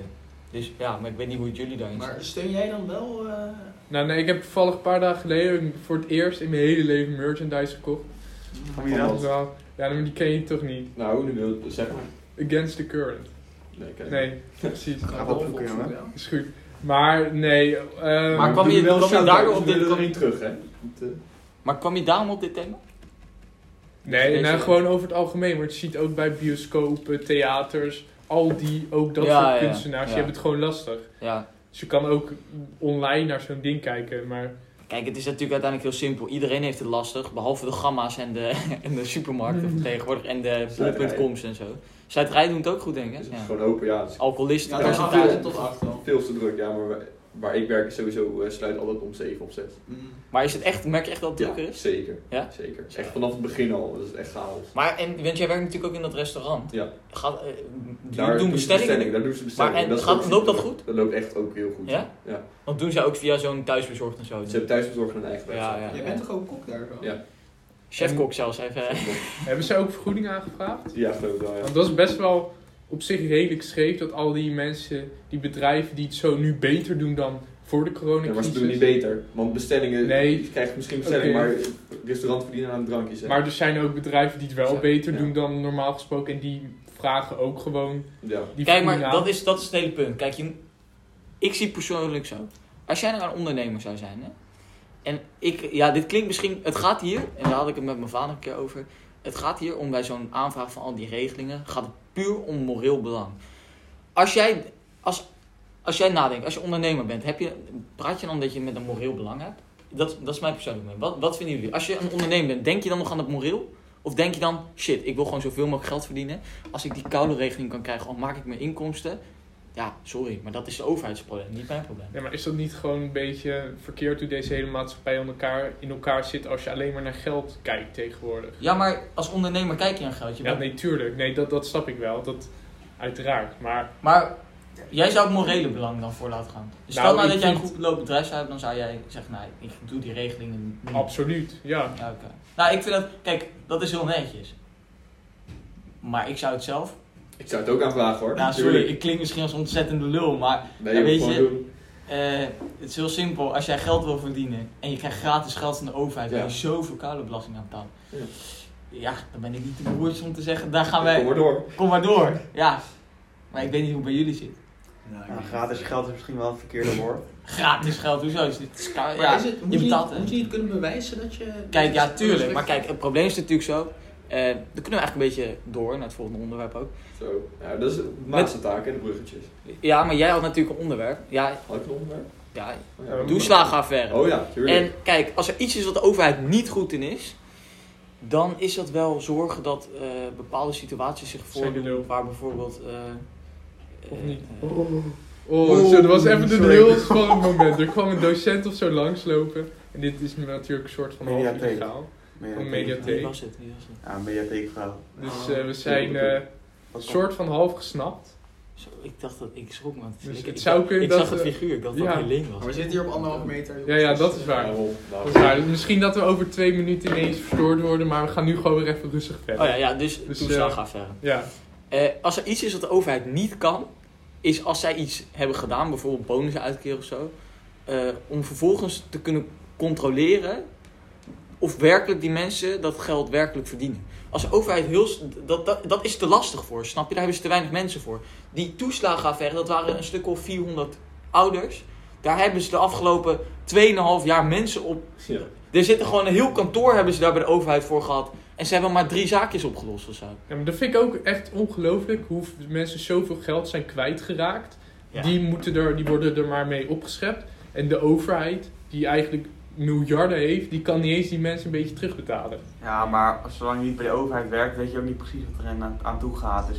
S1: Dus ja, maar ik weet niet hoe het jullie daarin
S4: Maar
S1: zit.
S4: steun jij dan wel? eh,
S3: Nou nee, ik heb toevallig een paar dagen geleden voor het eerst in mijn hele leven merchandise gekocht.
S2: Van wie
S5: Van
S2: dan?
S3: Dat is wel- Ja, maar die ken je toch niet?
S5: Nou, nu wil het, zeg maar.
S3: Against the current.
S5: Nee, kijk.
S3: Nee, precies.
S4: ga
S2: wat
S4: wel
S2: opzoeken,
S4: opzoeken,
S2: jongen.
S4: ja.
S3: Is goed. Maar nee,
S1: Maar
S3: ehm,
S1: kwam je- kwam je daardoor op dit-
S5: Kom niet terug, hè? Want, eh,
S1: Maar kwam je daarom op dit thema?
S3: Nee,
S1: Deze-
S3: nou, gewoon over het algemeen. Want je ziet ook bij bioscopen, theaters, al die, ook dat
S1: Ja,
S3: soort
S1: ja,
S3: kunstenaars, die
S1: ja.
S3: hebben het gewoon lastig.
S1: Ja.
S3: Dus je kan ook online naar zo'n ding kijken, maar...
S1: Kijk, het is natuurlijk uiteindelijk heel simpel. Iedereen heeft het lastig, behalve de gamma's en de, en de supermarkten van tegenwoordig. En de
S5: Sluiterijen.
S1: bol.coms en zo. Zuidrij doen het ook goed, denk ik.
S5: is
S1: hè?
S5: het
S1: Ja.
S5: gewoon open, ja. het is
S1: Alcoholisten,
S4: Ja,
S5: Ja,
S4: dat is
S5: een
S4: van
S1: percentage.
S5: veel-
S4: 5 tot 8 al.
S5: veel te druk, ja, maar wij- waar ik werk is sowieso eh, sluit altijd om 7 of 6.
S4: Mm.
S1: Maar is het echt, merk je echt dat het drukker is?
S5: zeker.
S1: Ja?
S5: Zeker. Echt vanaf het begin al, dat is echt chaos.
S1: Maar, en, want jij werkt natuurlijk ook in dat restaurant.
S5: Ja.
S1: Gaat, eh, doen-
S5: Daar
S1: doen
S5: ze
S1: bestellingen?
S5: Daar doen ze bestellingen.
S1: Maar en
S5: is
S1: gaat-
S5: ook
S1: loopt dat
S5: super druk. Dat loopt echt ook heel goed.
S1: Ja?
S5: ja.
S1: Want doen zij ook via zo'n thuisbezorgd en zo?
S5: Ze hebben thuisbezorgd en een eigen
S1: Ja, ja.
S5: website.
S4: Jij bent toch ook kok daar? zo?
S5: Ja.
S1: Chefkok zelfs even.
S3: Hebben ze ook vergoeding aangevraagd?
S5: Ja, geloof ik wel, ja.
S3: Want dat is best wel op zich redelijk scheef dat al die mensen, die bedrijven die het zo nu beter doen dan voor de
S5: Ja, maar
S3: coronacrisis.
S5: ze doen niet beter. Want bestellingen,
S3: Nee.
S5: je krijgt misschien bestellingen,
S3: Oké.
S5: maar het restaurant verdienen aan drankjes. Hè?
S3: Maar er zijn ook bedrijven die het wel
S5: Ja.
S3: beter
S5: Ja.
S3: doen dan normaal gesproken en die vragen ook gewoon
S5: ja.
S3: die
S1: Kijk, maar
S3: vergoeding aan.
S1: dat is, dat is het hele punt. Kijk, je, ik zie persoonlijk zo. Als jij nou een ondernemer zou zijn, hè? En ik, ja, dit klinkt misschien. Het gaat hier, en daar had ik het met mijn vader een keer over. Het gaat hier om bij zo'n aanvraag van al die regelingen. Gaat het puur om moreel belang. Als jij, als, als jij nadenkt, als je ondernemer bent, heb je, praat je dan dat je met een moreel belang hebt? Dat, dat is mijn persoonlijke mening. Wat, wat vinden jullie? Als je een ondernemer bent, denk je dan nog aan het moreel? Of denk je dan, shit, ik wil gewoon zoveel mogelijk geld verdienen. Als ik die koude regeling kan krijgen, al maak ik mijn inkomsten. Ja, sorry, maar dat is de overheidsprobleem, niet mijn probleem.
S3: Ja, maar is dat niet gewoon een beetje verkeerd hoe deze hele maatschappij aan elkaar, in elkaar zit als je alleen maar naar geld kijkt tegenwoordig?
S1: Ja, maar als ondernemer kijk je naar geld. Je
S3: Ja,
S1: bent-
S3: nee, tuurlijk. Nee, dat, dat snap ik wel. Dat uiteraard. Maar
S1: Maar jij zou het morele belang dan voor laten gaan. Dus
S3: Nou,
S1: stel nou
S3: ik
S1: dat jij een
S3: vind-
S1: goed lopend bedrijf zou hebben, dan zou jij zeggen, nee, ik doe die regelingen niet.
S3: absoluut, ja.
S1: Mm. Ja, oké. Nou, ik vind dat, kijk, dat is heel netjes. Maar ik zou het zelf.
S5: Ik zou het ook aanvragen hoor.
S1: Nou, sorry, ik klink misschien als ontzettende lul, maar
S5: Nee,
S1: Ja,
S5: je
S1: weet
S5: moet
S1: je-
S5: gewoon doen.
S1: eh, het is heel simpel. Als jij geld wil verdienen en je krijgt gratis geld van de overheid, dan
S5: Ja.
S1: je zoveel belasting aan betalen.
S5: Ja.
S1: Ja, dan ben ik niet de broertje om te zeggen, daar gaan
S5: Kom
S1: wij,
S5: maar door.
S1: kom maar door. Ja, maar ik weet niet hoe het bij jullie zit.
S4: Nou,
S2: Nou, gratis geld is misschien wel het verkeerde woord.
S1: Gratis geld, hoezo? Is dit, is ka-
S4: Maar
S1: ja.
S4: is het, moet,
S1: je
S4: je
S1: betaalt,
S4: niet-
S1: hè?
S4: moet je niet kunnen bewijzen dat je...
S1: Kijk, ja,
S4: dat-
S1: tuurlijk. Maar kijk, het probleem is natuurlijk zo. eh, dan kunnen we eigenlijk een beetje door naar het volgende onderwerp ook.
S5: Zo. Ja, dat is de laatste taak en de bruggetjes.
S1: Ja, maar jij had natuurlijk een onderwerp. Ja,
S5: Had ik een onderwerp?
S1: ja
S5: Oh,
S3: Ja, we
S1: toeslagenaffaire.
S5: Oh ja, tuurlijk.
S1: En kijk, als er iets is wat de overheid niet goed in is, dan is dat wel zorgen dat eh, bepaalde situaties zich
S3: Zijn de
S1: voordoen
S3: lul.
S1: waar bijvoorbeeld eh,
S3: Of niet?
S1: eh,
S3: Oh,
S2: Oeh,
S3: zo, dat was even de
S2: sorry.
S3: heel spannend moment. Er kwam een docent of zo langslopen. En dit is natuurlijk een soort van half
S2: Mediatheek.
S3: illegaal. Van
S1: eh,
S3: mediatheek.
S1: wie was het? Wie was het?
S2: Ja, mediatheekverhaal.
S4: Ah,
S3: Dus
S1: Oh.
S3: eh, we zijn eh,
S2: Wat
S3: soort van half gesnapt.
S1: Zo, ik dacht dat ik schrok, man.
S3: Dus
S1: ik,
S3: het
S1: ik-
S3: zou kunnen
S1: ik
S3: dat
S1: zag het
S3: we-
S1: figuur, ik dacht
S3: Ja.
S1: dat Helene was.
S4: Maar we zitten hier op anderhalve meter.
S3: Ja, ja, dat is waar.
S5: nou.
S3: Dat is waar. Dus Misschien dat we over twee minuten ineens verstoord worden, maar we gaan nu gewoon weer even rustig verder.
S1: Oh ja, ja dus,
S3: Dus,
S1: toeslagaffaire.
S3: Ja.
S1: Eh, als er iets is wat de overheid niet kan, is als zij iets hebben gedaan, bijvoorbeeld bonussen uitkeren of zo, eh, om vervolgens te kunnen controleren of werkelijk die mensen dat geld werkelijk verdienen. Als de overheid heel. s- Dat, dat, dat is te lastig voor, snap je? Daar hebben ze te weinig mensen voor. Die toeslagenaffaire, dat waren een stuk of 400 ouders. Daar hebben ze de afgelopen 2,5 jaar mensen op.
S5: Ja.
S1: Er zitten gewoon een heel kantoor hebben ze daar bij de overheid voor gehad. En ze hebben maar drie zaakjes opgelost of zo.
S3: Ja, maar dat vind ik ook echt ongelooflijk hoe mensen zoveel geld zijn kwijtgeraakt.
S1: Ja.
S3: Die, moeten er, die worden er maar mee opgeschept. En de overheid, die eigenlijk miljarden heeft, die kan niet eens die mensen een beetje terugbetalen.
S2: Ja, maar zolang je niet bij de overheid werkt, weet je ook niet precies wat er aan, aan toe gaat. Dus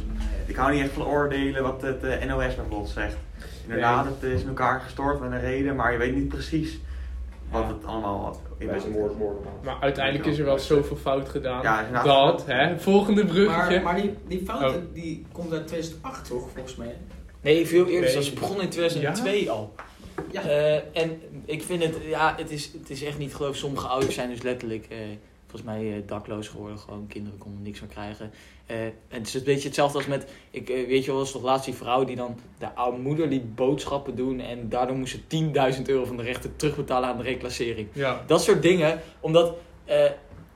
S2: ik hou niet echt van oordelen wat het eh, NOS bijvoorbeeld zegt. Inderdaad, het is in elkaar gestort met een reden, maar je weet niet precies wat
S1: Ja.
S2: het allemaal had in
S5: Bij
S2: bezit.
S5: zijn moord, moordenaar.
S3: Maar uiteindelijk is er wel zoveel fout gedaan.
S2: Ja, inderdaad.
S3: dat, hè, volgende bruggetje.
S4: Maar, maar die, die fouten
S5: Oh.
S4: die komt uit 2008 toch, volgens mij? hè?
S1: Nee, veel eerder.
S3: Nee.
S1: Dat begon in 2002 al.
S4: Ja.
S1: Eh, en ik vind het, ja, het is, het is echt niet geloof. Sommige ouders zijn dus letterlijk, eh, volgens mij, eh, dakloos geworden. Gewoon kinderen konden niks meer krijgen. Eh, en het is een beetje hetzelfde als met, ik, eh, weet je wel, was toch laatst die vrouw die dan de oude moeder liet boodschappen doen. En daardoor moest ze 10.000 euro van de rechter terugbetalen aan de reclassering.
S3: Ja. Nou,
S1: Dat soort dingen, omdat eh,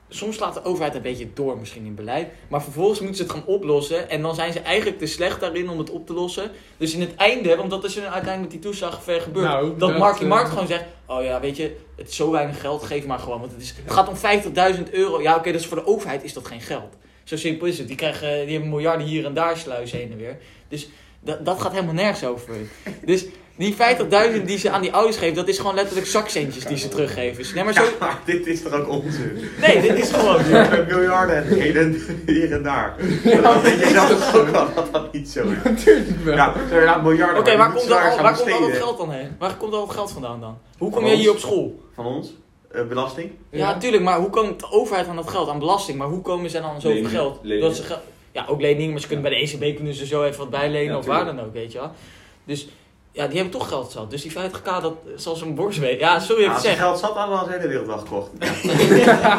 S1: soms slaat de overheid een beetje door misschien in beleid. Maar vervolgens moeten ze het gaan oplossen. En dan zijn ze eigenlijk te slecht daarin om het op te lossen. Dus in het einde, want dat is er uiteindelijk met die toeslagaffaire gebeurd.
S3: Nou,
S1: dat,
S3: dat,
S1: Markie
S3: eh,
S1: Markt gewoon zegt, oh ja, weet je, het is zo weinig geld, geef maar gewoon. Want het, is, het gaat om 50.000 euro. Ja, oké, dus voor de overheid is dat geen geld. Zo simpel is het. Die, krijgen, die hebben miljarden hier en daar sluizen heen en weer. Dus dat, dat gaat helemaal nergens over. Dus die 50.000 die ze aan die ouders geven, dat is gewoon letterlijk zakcentjes die ze teruggeven. Nee, maar zo,
S2: Ja, maar dit is toch ook onzin?
S1: Nee, dit is gewoon.
S2: Je hebt miljarden heden hier en daar. Dat weet je zelf ook wel dat dat niet zo is.
S3: Natuurlijk wel.
S2: Ja, er zijn miljarden
S1: Oké,
S2: maar
S1: waar
S2: niet
S1: komt dan
S2: zwaar
S1: al,
S2: gaan
S1: waar komt al dat
S2: besteden.
S1: geld dan heen? Waar komt al dat geld vandaan dan? Hoe kom
S2: Van
S1: jij hier op
S2: ons.
S1: school?
S2: Van ons? Eh, belasting?
S1: Ja, natuurlijk, maar hoe komt de overheid aan dat geld? Aan belasting, maar hoe komen ze dan aan zoveel
S5: Leningen,
S1: geld?
S5: leningen.
S1: Dat ze geld? Ja, ook leningen, maar ze kunnen bij de ECB kunnen ze zo even wat bijlenen
S5: Ja,
S1: of waar
S5: tuurlijk.
S1: dan ook, weet je wel. Dus ja, die hebben toch geld zat. Dus die 50k, dat eh, zal zo'n borst weten. Ja, sorry dat
S2: Nou, als
S1: ik
S2: je
S1: het zeg.
S2: geld zat, hadden we al de hele wereld wel gekocht.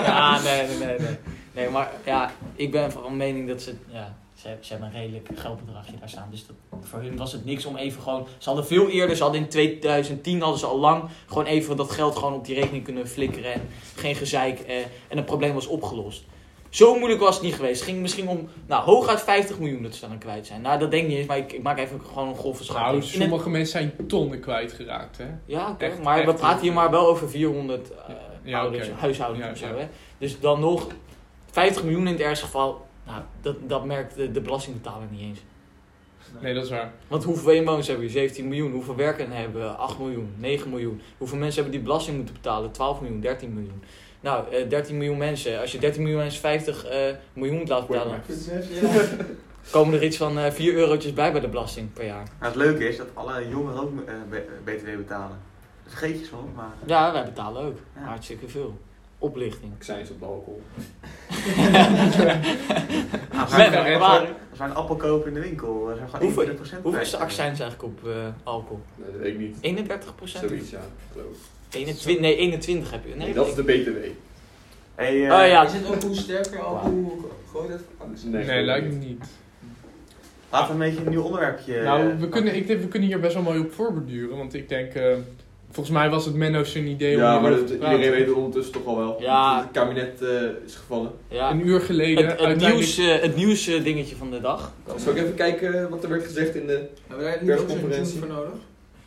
S1: Ja, nee, nee, nee, nee. Nee, maar ja, ik ben van mening dat ze... Ja, ze, ze hebben een redelijk geldbedragje daar staan. Dus dat, voor hun was het niks om even gewoon... Ze hadden veel eerder, ze hadden in 2010 hadden ze al lang... gewoon even dat geld gewoon op die rekening kunnen flikkeren. En geen gezeik. Eh, en het probleem was opgelost. Zo moeilijk was het niet geweest. Het ging misschien om, nou, hooguit 50 miljoen dat ze dan aan kwijt zijn. Nou, dat denk ik niet eens, maar ik, ik maak even gewoon een grove
S3: Nou,
S1: schatting. In het-
S3: sommige mensen zijn tonnen kwijtgeraakt, hè.
S1: ja, oké,
S3: Echt,
S1: maar we
S3: echt.
S1: praten hier maar wel over 400 eh,
S3: Ja,
S1: ouders,
S3: oké.
S1: huishoudens
S3: Ja,
S1: of zo.
S3: ja.
S1: Hè? Dus dan nog 50 miljoen in het ergste geval. Nou, dat, dat merkt de, de belastingbetaler niet eens.
S3: Nee, dat is waar.
S1: Want hoeveel inwoners hebben we? 17 miljoen. Hoeveel werkenden hebben we? 8 miljoen, 9 miljoen. Hoeveel mensen hebben die belasting moeten betalen? 12 miljoen, 13 miljoen. Nou, eh, 13 miljoen mensen. Als je 13 miljoen mensen 50 eh, miljoen moet laten betalen, komen er iets van eh 4 eurotjes bij bij de belasting per jaar.
S2: Maar het leuke is dat alle jongeren ook eh, be- BTW betalen. Dat vergeet je soms, maar... eh,
S1: Ja, wij betalen ook.
S2: Ja.
S1: Hartstikke veel. Oplichting.
S5: Ik zei eens op de alcohol.
S2: als
S1: Nee,
S2: wij-
S3: maar
S2: als
S3: even-
S2: wij- als wij een appel kopen in de winkel, eh, zijn we
S1: Hoeveel-
S2: gewoon 21%
S1: Hoeveel is de
S2: kwijt.
S1: accijns eigenlijk op eh, alcohol?
S5: Nee, dat weet ik niet.
S1: 31 procent?
S5: Zoiets, ja. geloof ik.
S1: 21, nee, 21 heb je.
S5: Nee, dat is de BTW.
S2: Hey, eh,
S1: Oh ja.
S4: Is het ook hoe sterker, al hoe groot het
S3: Nee, lijkt me niet.
S2: Laten we een beetje een nieuw onderwerpje...
S3: Nou,
S2: eh,
S3: we kunnen, ik denk, we kunnen hier best wel mooi op voorborduren. Want ik denk, eh, volgens mij was het Menno zijn idee om
S5: Ja, maar
S3: hierover
S5: dat,
S3: te praten.
S5: iedereen weet het ondertussen toch al wel.
S1: Ja.
S5: Het kabinet eh, is gevallen.
S1: ja.
S3: Een uur geleden.
S1: Het, het
S3: uiteindelijk-
S1: nieuws, eh, het nieuws eh, dingetje van de dag.
S5: Zal ik even kijken wat er werd gezegd in de...
S4: Hebben we daar niet ook zo'n tune
S5: Persconferentie.
S4: voor nodig?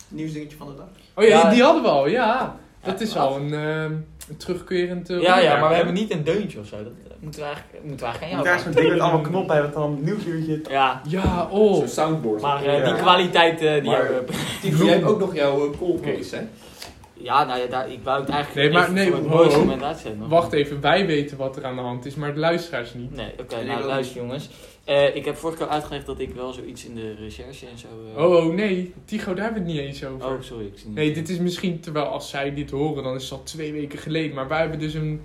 S4: Nieuwsdingetje van de dag.
S3: Oh ja,
S1: Ja,
S3: die hadden we al, ja. Dat
S1: Ja,
S3: is
S1: wat?
S3: al een, ehm, een terugkerend eh,
S1: Ja, ja,
S3: onderwerp,
S1: maar we
S3: hè?
S1: hebben niet een deuntje of zo. Dat eh, moeten we eigenlijk, moeten we eigenlijk aan
S2: Moet
S1: jou
S2: daar zo'n ding met allemaal knoppen hebben, dat dan een nieuwsuurtje...
S1: vragen. Ja,
S3: Ja, oh.
S5: Zo'n soundboard.
S1: maar eh,
S2: Ja.
S1: die kwaliteit eh, die
S5: Maar-
S1: hebben we.
S5: Tief, jij hebt ook nog jouw eh, cold case, hè?
S1: Ja, Ja, nou ja, daar, ik wou het eigenlijk
S3: Nee, maar
S1: even
S3: nee,
S1: voor het
S3: ho,
S1: mooiste
S3: ho.
S1: moment uitzetten. nog.
S3: Wacht even, wij weten wat er aan de hand is, maar de luisteraars niet.
S1: Nee, oké,
S4: En ik
S1: nou
S4: ook
S1: luister jongens. Eh, ik heb vorige keer uitgelegd dat ik wel zoiets in de recherche en zo... eh,
S3: Oh, oh nee, Tigo, daar hebben we het niet eens over.
S1: oh, sorry, ik zie niet.
S3: Nee, dit is misschien, terwijl als zij dit horen, dan is het al twee weken geleden. Maar wij hebben dus een,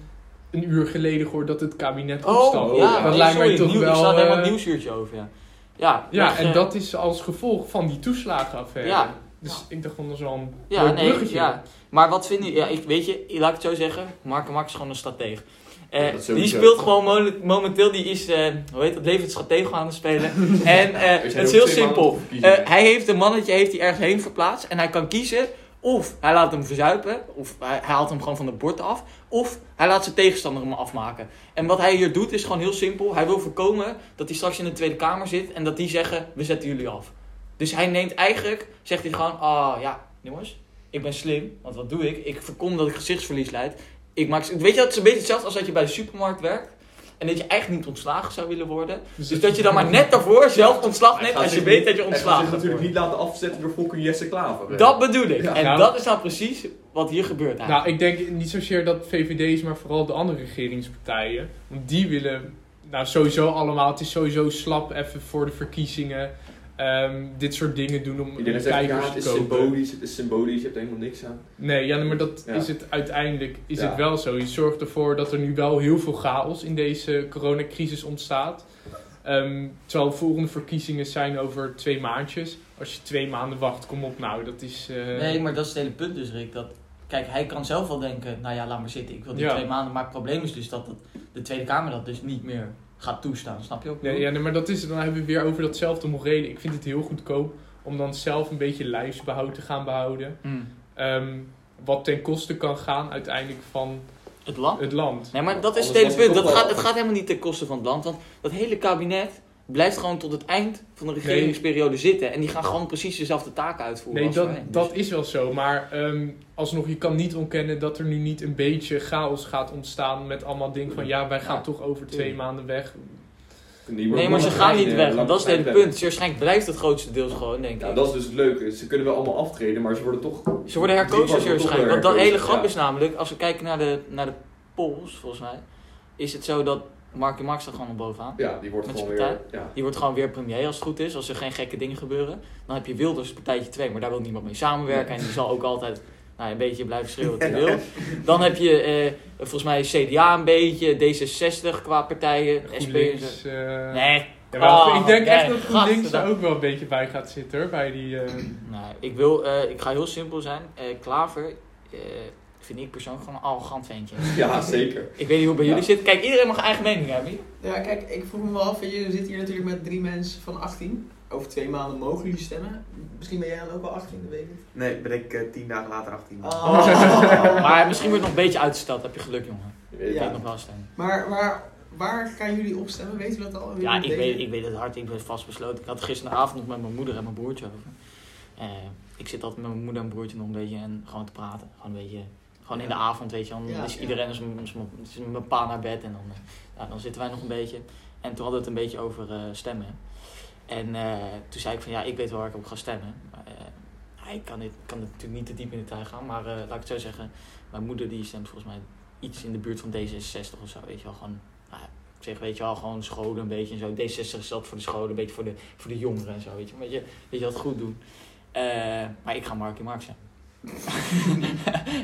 S3: een uur geleden gehoord dat het kabinet opstapt.
S1: Oh, ja,
S3: dat
S1: nee,
S3: lijkt
S1: sorry,
S3: mij toch
S1: nieuw,
S3: wel...
S1: Ik zat helemaal
S3: eh,
S1: een nieuwsuurtje over, ja. Ja,
S3: Ja,
S1: weg,
S3: en
S1: eh,
S3: dat is als gevolg van die toeslagenaffaire.
S1: Ja.
S3: Dus ik dacht, van, dat is wel een
S1: Ja,
S3: leuk
S1: nee,
S3: bruggetje.
S1: ja. Maar wat vind je... Ja, ik, weet je, laat ik het zo zeggen. Marco Max is gewoon een strateeg. Eh,
S5: Ja, dat
S1: die
S5: sowieso.
S1: speelt gewoon mo- momenteel, die is, eh hoe heet dat, levensstratego aan het spelen. en eh,
S5: Er
S1: het
S5: zijn
S1: is
S5: ook
S1: heel
S5: twee
S1: simpel.
S5: maanden voor
S1: Eh,
S5: verkiezingen.
S1: hij heeft een mannetje heeft hij ergens heen verplaatst en hij kan kiezen of hij laat hem verzuipen, of hij, hij haalt hem gewoon van het bord af, of hij laat zijn tegenstander hem afmaken. En wat hij hier doet is gewoon heel simpel. Hij wil voorkomen dat hij straks in de Tweede Kamer zit en dat die zeggen, we zetten jullie af. Dus hij neemt eigenlijk, zegt hij gewoon, ah ja, jongens, ik ben slim, want wat doe ik? Ik voorkom dat ik gezichtsverlies leid. Ik maak, weet je, dat is een beetje hetzelfde als dat je bij de supermarkt werkt. En dat je eigenlijk niet ontslagen zou willen worden. Dus dat je dan maar net daarvoor zelf ontslag
S5: Hij
S1: neemt
S5: gaat
S1: als je
S5: zich
S1: weet
S5: niet-
S1: dat je
S5: hij gaat
S1: ontslagen
S5: zich
S1: wordt.
S5: natuurlijk niet laten afzetten door fucking Jesse Klaver.
S1: Dat bedoel ik.
S5: Ja.
S1: en
S3: Nou,
S1: dat is nou precies wat hier gebeurt eigenlijk.
S3: Nou, ik denk niet zozeer dat VVD's, maar vooral de andere regeringspartijen. Want die willen, nou sowieso allemaal, het is sowieso slap even voor de verkiezingen. ehm, dit soort dingen doen om
S5: Iedereen zegt, ja,
S3: kijkers
S5: het
S3: te
S5: is
S3: kopen.
S5: symbolisch, het is symbolisch, je hebt er helemaal niks aan.
S3: Nee, ja, maar dat
S5: Ja.
S3: is het uiteindelijk is
S5: Ja.
S3: het wel zo. Je zorgt ervoor dat er nu wel heel veel chaos in deze coronacrisis ontstaat. Ehm, terwijl de volgende verkiezingen zijn over twee maandjes. Als je twee maanden wacht, kom op nou, dat is... eh,
S1: nee, maar dat is het hele punt dus, Rick. Dat, kijk, hij kan zelf wel denken, nou ja, laat maar zitten. Ik wil die
S3: Ja.
S1: twee maanden. Maar het probleem is dus dat het- de Tweede Kamer dat dus niet meer gaat toestaan. Snap je ook?
S3: Nee, ja, nee, maar dat is het. Dan hebben we weer over datzelfde morele. Ik vind het heel goedkoop om dan zelf een beetje lijfsbehoud te gaan behouden.
S1: Hmm.
S3: Ehm, wat ten koste kan gaan uiteindelijk van
S1: Het land?
S3: het land.
S1: Nee, maar dat is het
S5: Anders
S1: hele
S5: was het
S1: punt. Dat
S5: toch wel-
S1: gaat, het gaat helemaal niet ten koste van het land. Want dat hele kabinet blijft gewoon tot het eind van de regeringsperiode zitten. En die gaan gewoon precies dezelfde taken uitvoeren.
S3: Nee,
S1: als
S3: dat,
S1: voorheen.
S3: dat is wel zo. Maar ehm, alsnog, je kan niet ontkennen dat er nu niet een beetje chaos gaat ontstaan met allemaal dingen van ja, wij gaan
S1: Ja,
S3: toch over twee maanden weg.
S1: Nee, maar ze
S5: Lange
S1: gaan
S5: termijn,
S1: niet
S5: eh,
S1: weg.
S5: lange
S1: want Dat is het hele
S5: termijn
S1: punt. Ze Waarschijnlijk blijft het grootste deels gewoon, denk ik.
S5: plannen. Ja, dat is dus het leuke. Ze kunnen wel allemaal aftreden, maar ze worden toch...
S1: Ze worden herkozen
S5: Die
S1: zeer
S5: worden toch
S1: waarschijnlijk. Want dat hele
S5: herkozen,
S1: grap
S5: ja.
S1: is namelijk, als we kijken naar de, naar de polls, volgens mij, is het zo dat Marky Mark staat gewoon nog bovenaan.
S5: Ja, die wordt
S1: Met
S5: gewoon
S1: zijn
S5: weer... Ja.
S1: Die wordt gewoon weer premier als het goed is, als er geen gekke dingen gebeuren. Dan heb je Wilders partijtje 2, maar daar wil niemand mee samenwerken. En die zal ook altijd nou, een beetje blijven schreeuwen wat hij wil. Dan heb je eh, volgens mij CDA een beetje, D66 qua partijen, SP en zo.
S3: GroenLinks, eh,
S1: Nee,
S3: jawel,
S1: Oh,
S3: ik denk echt
S1: nee,
S3: dat GroenLinks er
S1: gadverdamme.
S3: ook wel een beetje bij gaat zitten hoor, bij die... eh,
S1: nee ik, wil, eh, ik ga heel simpel zijn. Eh, Klaver eh, vind ik persoonlijk gewoon een arrogant ventje.
S5: ja, zeker.
S1: Ik weet niet hoe het bij jullie
S5: Ja.
S1: zit. Kijk, iedereen mag een eigen mening hebben.
S4: Ja, kijk, ik vroeg me wel af, je zit hier natuurlijk met drie mensen van 18. Over twee maanden mogen jullie stemmen. Misschien ben jij dan ook wel 18, dat weet ik niet.
S2: Nee, ben ik eh, tien dagen later 18.
S1: Oh. Maar misschien wordt het nog een beetje uitgesteld. Heb je geluk, jongen.
S5: Je weet het
S1: Ik
S4: Ja.
S1: heb nog wel stemmen.
S4: Maar waar, waar gaan jullie op stemmen? Weten we dat al? Willen
S1: Ja,
S4: jullie
S1: ik
S4: delen?
S1: weet, ik weet het hard. Ik ben vastbesloten. Ik had het gisteravond nog met mijn moeder en mijn broertje over. Eh, ik zit altijd met mijn moeder en broertje nog een beetje en gewoon te praten. Gewoon een beetje... Gewoon in de avond, weet je. Dan
S4: Ja,
S1: is
S4: ja.
S1: iedereen is, is, is mijn pa naar bed en dan, eh, ja, dan zitten wij nog een beetje. En toen hadden we het een beetje over eh, stemmen. En eh, toen zei ik van ja, ik weet wel waar ik op ga stemmen. Maar, eh, ja, ik kan, dit, kan dit natuurlijk niet te diep in de tuin gaan, maar eh, laat ik het zo zeggen. Mijn moeder die stemt volgens mij iets in de buurt van D66 of zo, weet je wel. Gewoon, nou, ik zeg, weet je wel, gewoon scholen een beetje en zo. D66 is dat voor de scholen, een beetje voor de, voor de jongeren en zo, weet je. Weet je, weet je dat goed doen. Eh, maar ik ga Marky Mark zijn.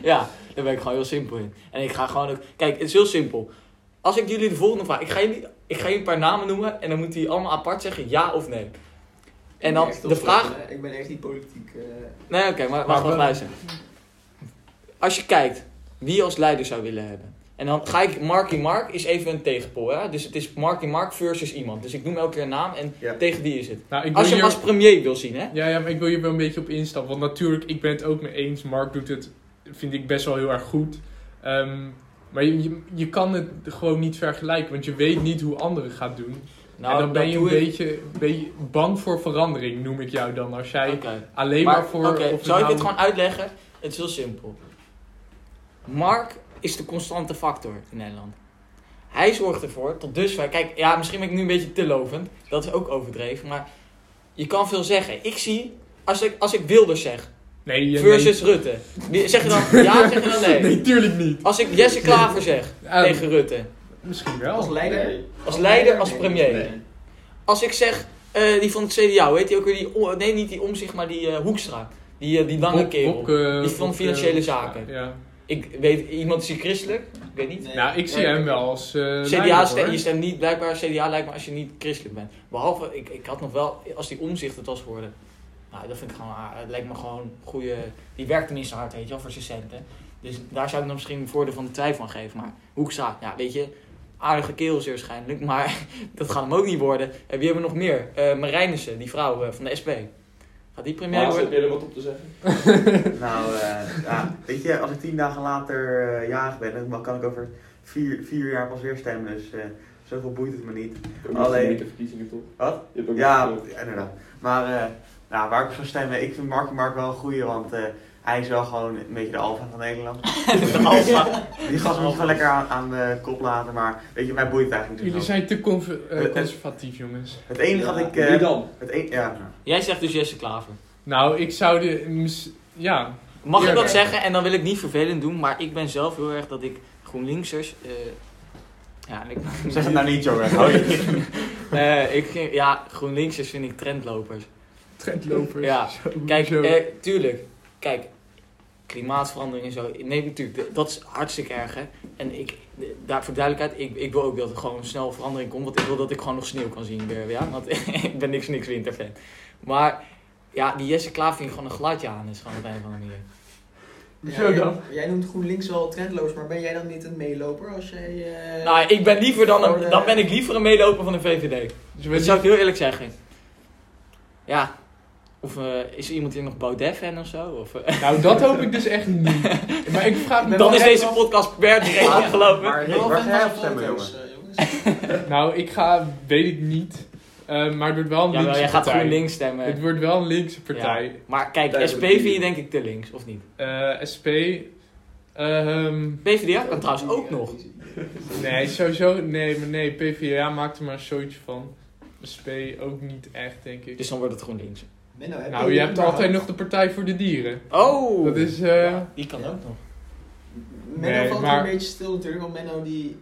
S1: ja, daar ben ik gewoon heel simpel in. En ik ga gewoon ook... Kijk, het is heel simpel. Als ik jullie de volgende vraag... Ik ga jullie, ik ga jullie een paar namen noemen en dan moeten jullie allemaal apart zeggen ja of nee.
S4: Ik
S1: En
S4: ben
S1: dan
S4: echt
S1: de
S4: heel
S1: vraag...
S4: slecht, hè. Ik ben echt niet politiek. eh.
S1: Nee, oké, maar wacht,
S3: wel-
S1: wacht, luister. Als je kijkt wie je als leider zou willen hebben. En dan ga ik Marky Mark is even een tegenpol. Hè? Dus het is Marky Mark versus iemand. Dus ik noem elke keer een naam en
S2: Ja.
S1: tegen die is het.
S3: nou, ik wil
S1: Als je hem
S3: hier-
S1: als premier wil zien, hè?
S3: Ja, ja, maar ik wil hier wel een beetje op instappen. Want natuurlijk, ik ben het ook mee eens. Mark doet het, vind ik, best wel heel erg goed. Ehm, maar je, je, je kan het gewoon niet vergelijken. Want je weet niet hoe anderen gaat doen. en dan ben je een
S1: Nou, doe ik-
S3: beetje, beetje bang voor verandering, noem ik jou dan. Als jij
S1: Oké.
S3: alleen maar,
S1: Maar,
S3: voor...
S1: oké,
S3: of het
S1: zal ik
S3: nou-
S1: dit gewoon uitleggen? Het is heel simpel. Mark is de constante factor in Nederland. Hij zorgt ervoor, tot dusver... Kijk, ja, misschien ben ik nu een beetje te lovend. Dat is ook overdreven, maar... Je kan veel zeggen. Ik zie, als ik, als ik Wilders zeg...
S3: Nee, eh,
S1: Versus Rutte. Wie- Zeg je dan ja, zeg je dan
S3: nee.
S1: nee?
S3: nee, tuurlijk niet.
S1: Als ik Jesse Klaver zeg
S3: Ah,
S1: tegen Rutte.
S3: Misschien
S4: Als
S3: wel.
S4: leider?
S5: Nee.
S1: Als leider, als
S4: Nee.
S1: premier.
S4: Nee.
S1: Als ik zeg, eh, die van het CDA, weet je ook weer die, o- nee niet die omzicht, maar die eh, Hoekstra. Die, eh, die lange
S3: Bob-
S1: kerel.
S3: Bobke-
S1: Die van
S3: Bobke-
S1: financiële zaken.
S3: Ja.
S1: Ik weet, iemand is hier christelijk? Ik weet niet.
S4: Nee.
S3: Nou, ik zie
S4: Nee.
S3: hem wel als eh, leider,
S1: CDA, ste-
S3: hoor.
S1: je stemt niet, blijkbaar CDA lijkt me als je niet christelijk bent. Behalve, ik, ik had nog wel, als die omzicht het was geworden. Nou, dat vind ik gewoon, ah, het lijkt me gewoon goede, die werkt tenminste hard, weet je wel, voor zijn centen. Dus daar zou ik dan misschien een voordeel van de twijfel aan geven. Maar Hoekstra, ja, weet je, aardige kerel zeer waarschijnlijk, maar dat gaat hem ook niet worden. En wie hebben we nog meer? Eh Marijnissen, die vrouw eh, van de SP. Gaat die premier
S5: Maas, heb
S1: worden?
S5: je er wat op te zeggen?
S2: Nou, eh, ja, weet je, als ik tien dagen later eh, jarig ben, dan kan ik over vier, vier jaar pas weer stemmen. Dus eh, zoveel boeit het me niet.
S5: Ook niet
S2: Alleen-
S5: niet de verkiezingen toch?
S2: Wat?
S5: Je hebt ook
S2: Ja,
S5: niet-
S2: inderdaad. Maar eh, nou, waar ik op zou stemmen, ik vind Marky Mark wel een goeie, want eh, hij is wel gewoon een beetje de alfa van Nederland.
S1: De alfa.
S2: Die gast moet je gewoon lekker aan, aan de kop laten, maar weet je, mij boeit het eigenlijk niet zo.
S3: Jullie zijn te conf- eh,
S2: Eh, eh.
S3: conservatief, jongens.
S2: Het enige dat
S5: Ja,
S2: ik...
S5: Wie
S2: eh,
S5: dan?
S2: het enige, ja.
S1: Jij zegt dus Jesse Klaver.
S3: Nou, ik zou de... mis- Ja,
S1: Mag ik dat
S3: Eerlijk.
S1: zeggen? En dan wil ik niet vervelend doen, maar ik ben zelf heel erg dat ik GroenLinksers. eh ja, en ik,
S2: Zeg het nou niet, jongen. Hou je.
S1: Eh, ik ging- ja, GroenLinksers vind ik trendlopers.
S3: trendlopers.
S1: Ja,
S3: Zo,
S1: Kijk,
S3: zo.
S1: eh, tuurlijk. Kijk, klimaatverandering en zo. Nee, natuurlijk, d- dat is hartstikke erg. Hè? En ik, d- daar voor duidelijkheid, ik, ik wil ook dat er gewoon snel verandering komt. Want ik wil dat ik gewoon nog sneeuw kan zien. weer, Ja? Want ik ben niks, niks winterfan. Maar ja, die Jesse Klaar vind ik gewoon een gladje aan. Is gewoon op een of andere manier.
S3: Zo dan.
S4: Jij, jij noemt GroenLinks wel trendloos, maar ben jij dan niet een meeloper als jij... eh,
S1: Nou, ik ben liever dan
S3: Oh,
S4: voor de-
S1: een, dan ben ik liever een medeloper van de VVD.
S3: Dus
S1: Dat
S3: weet
S1: zou ik heel eerlijk zeggen. Ja. Of eh, is er iemand hier nog Baudet-fan of zo? Of, eh,
S3: je- Nou, dat hoop ik dus echt niet. Maar ik vraag me
S1: dan
S3: wel
S1: is
S3: echt
S1: deze
S3: af-
S1: podcast per direct
S4: Ja,
S1: afgelopen.
S2: Maar
S4: Ik
S2: Rick,
S4: ben wel
S2: waar
S4: fan
S2: ga jij
S4: van
S2: op stemmen,
S4: foto's,
S2: jongen?
S4: eh, jongens.
S3: Nou, ik ga... Weet ik niet. Eh, maar het wordt wel een
S1: Ja,
S3: linkse
S1: jij gaat eh.
S3: partij.
S1: gewoon links stemmen.
S3: Het wordt wel een linkse partij.
S1: Ja. Maar kijk,
S5: Partij
S1: SP
S5: voor de
S1: vind je
S5: dieren.
S1: denk ik te links, of niet?
S3: Eh, SP... ehm,
S1: PvdA kan trouwens ook nog.
S3: nee, sowieso... Nee, maar nee, PvdA maakt er maar een zootje van. SP ook niet echt, denk ik.
S1: Dus dan wordt het gewoon links.
S4: Menno, heb
S3: nou, je hebt
S4: überhaupt-
S3: altijd nog de Partij voor de Dieren.
S1: Oh!
S3: Dat is... eh,
S1: Ja, die kan
S4: Ja.
S1: ook nog.
S4: Menno
S3: Nee,
S4: valt
S3: maar-
S4: een beetje stil natuurlijk, want Menno die,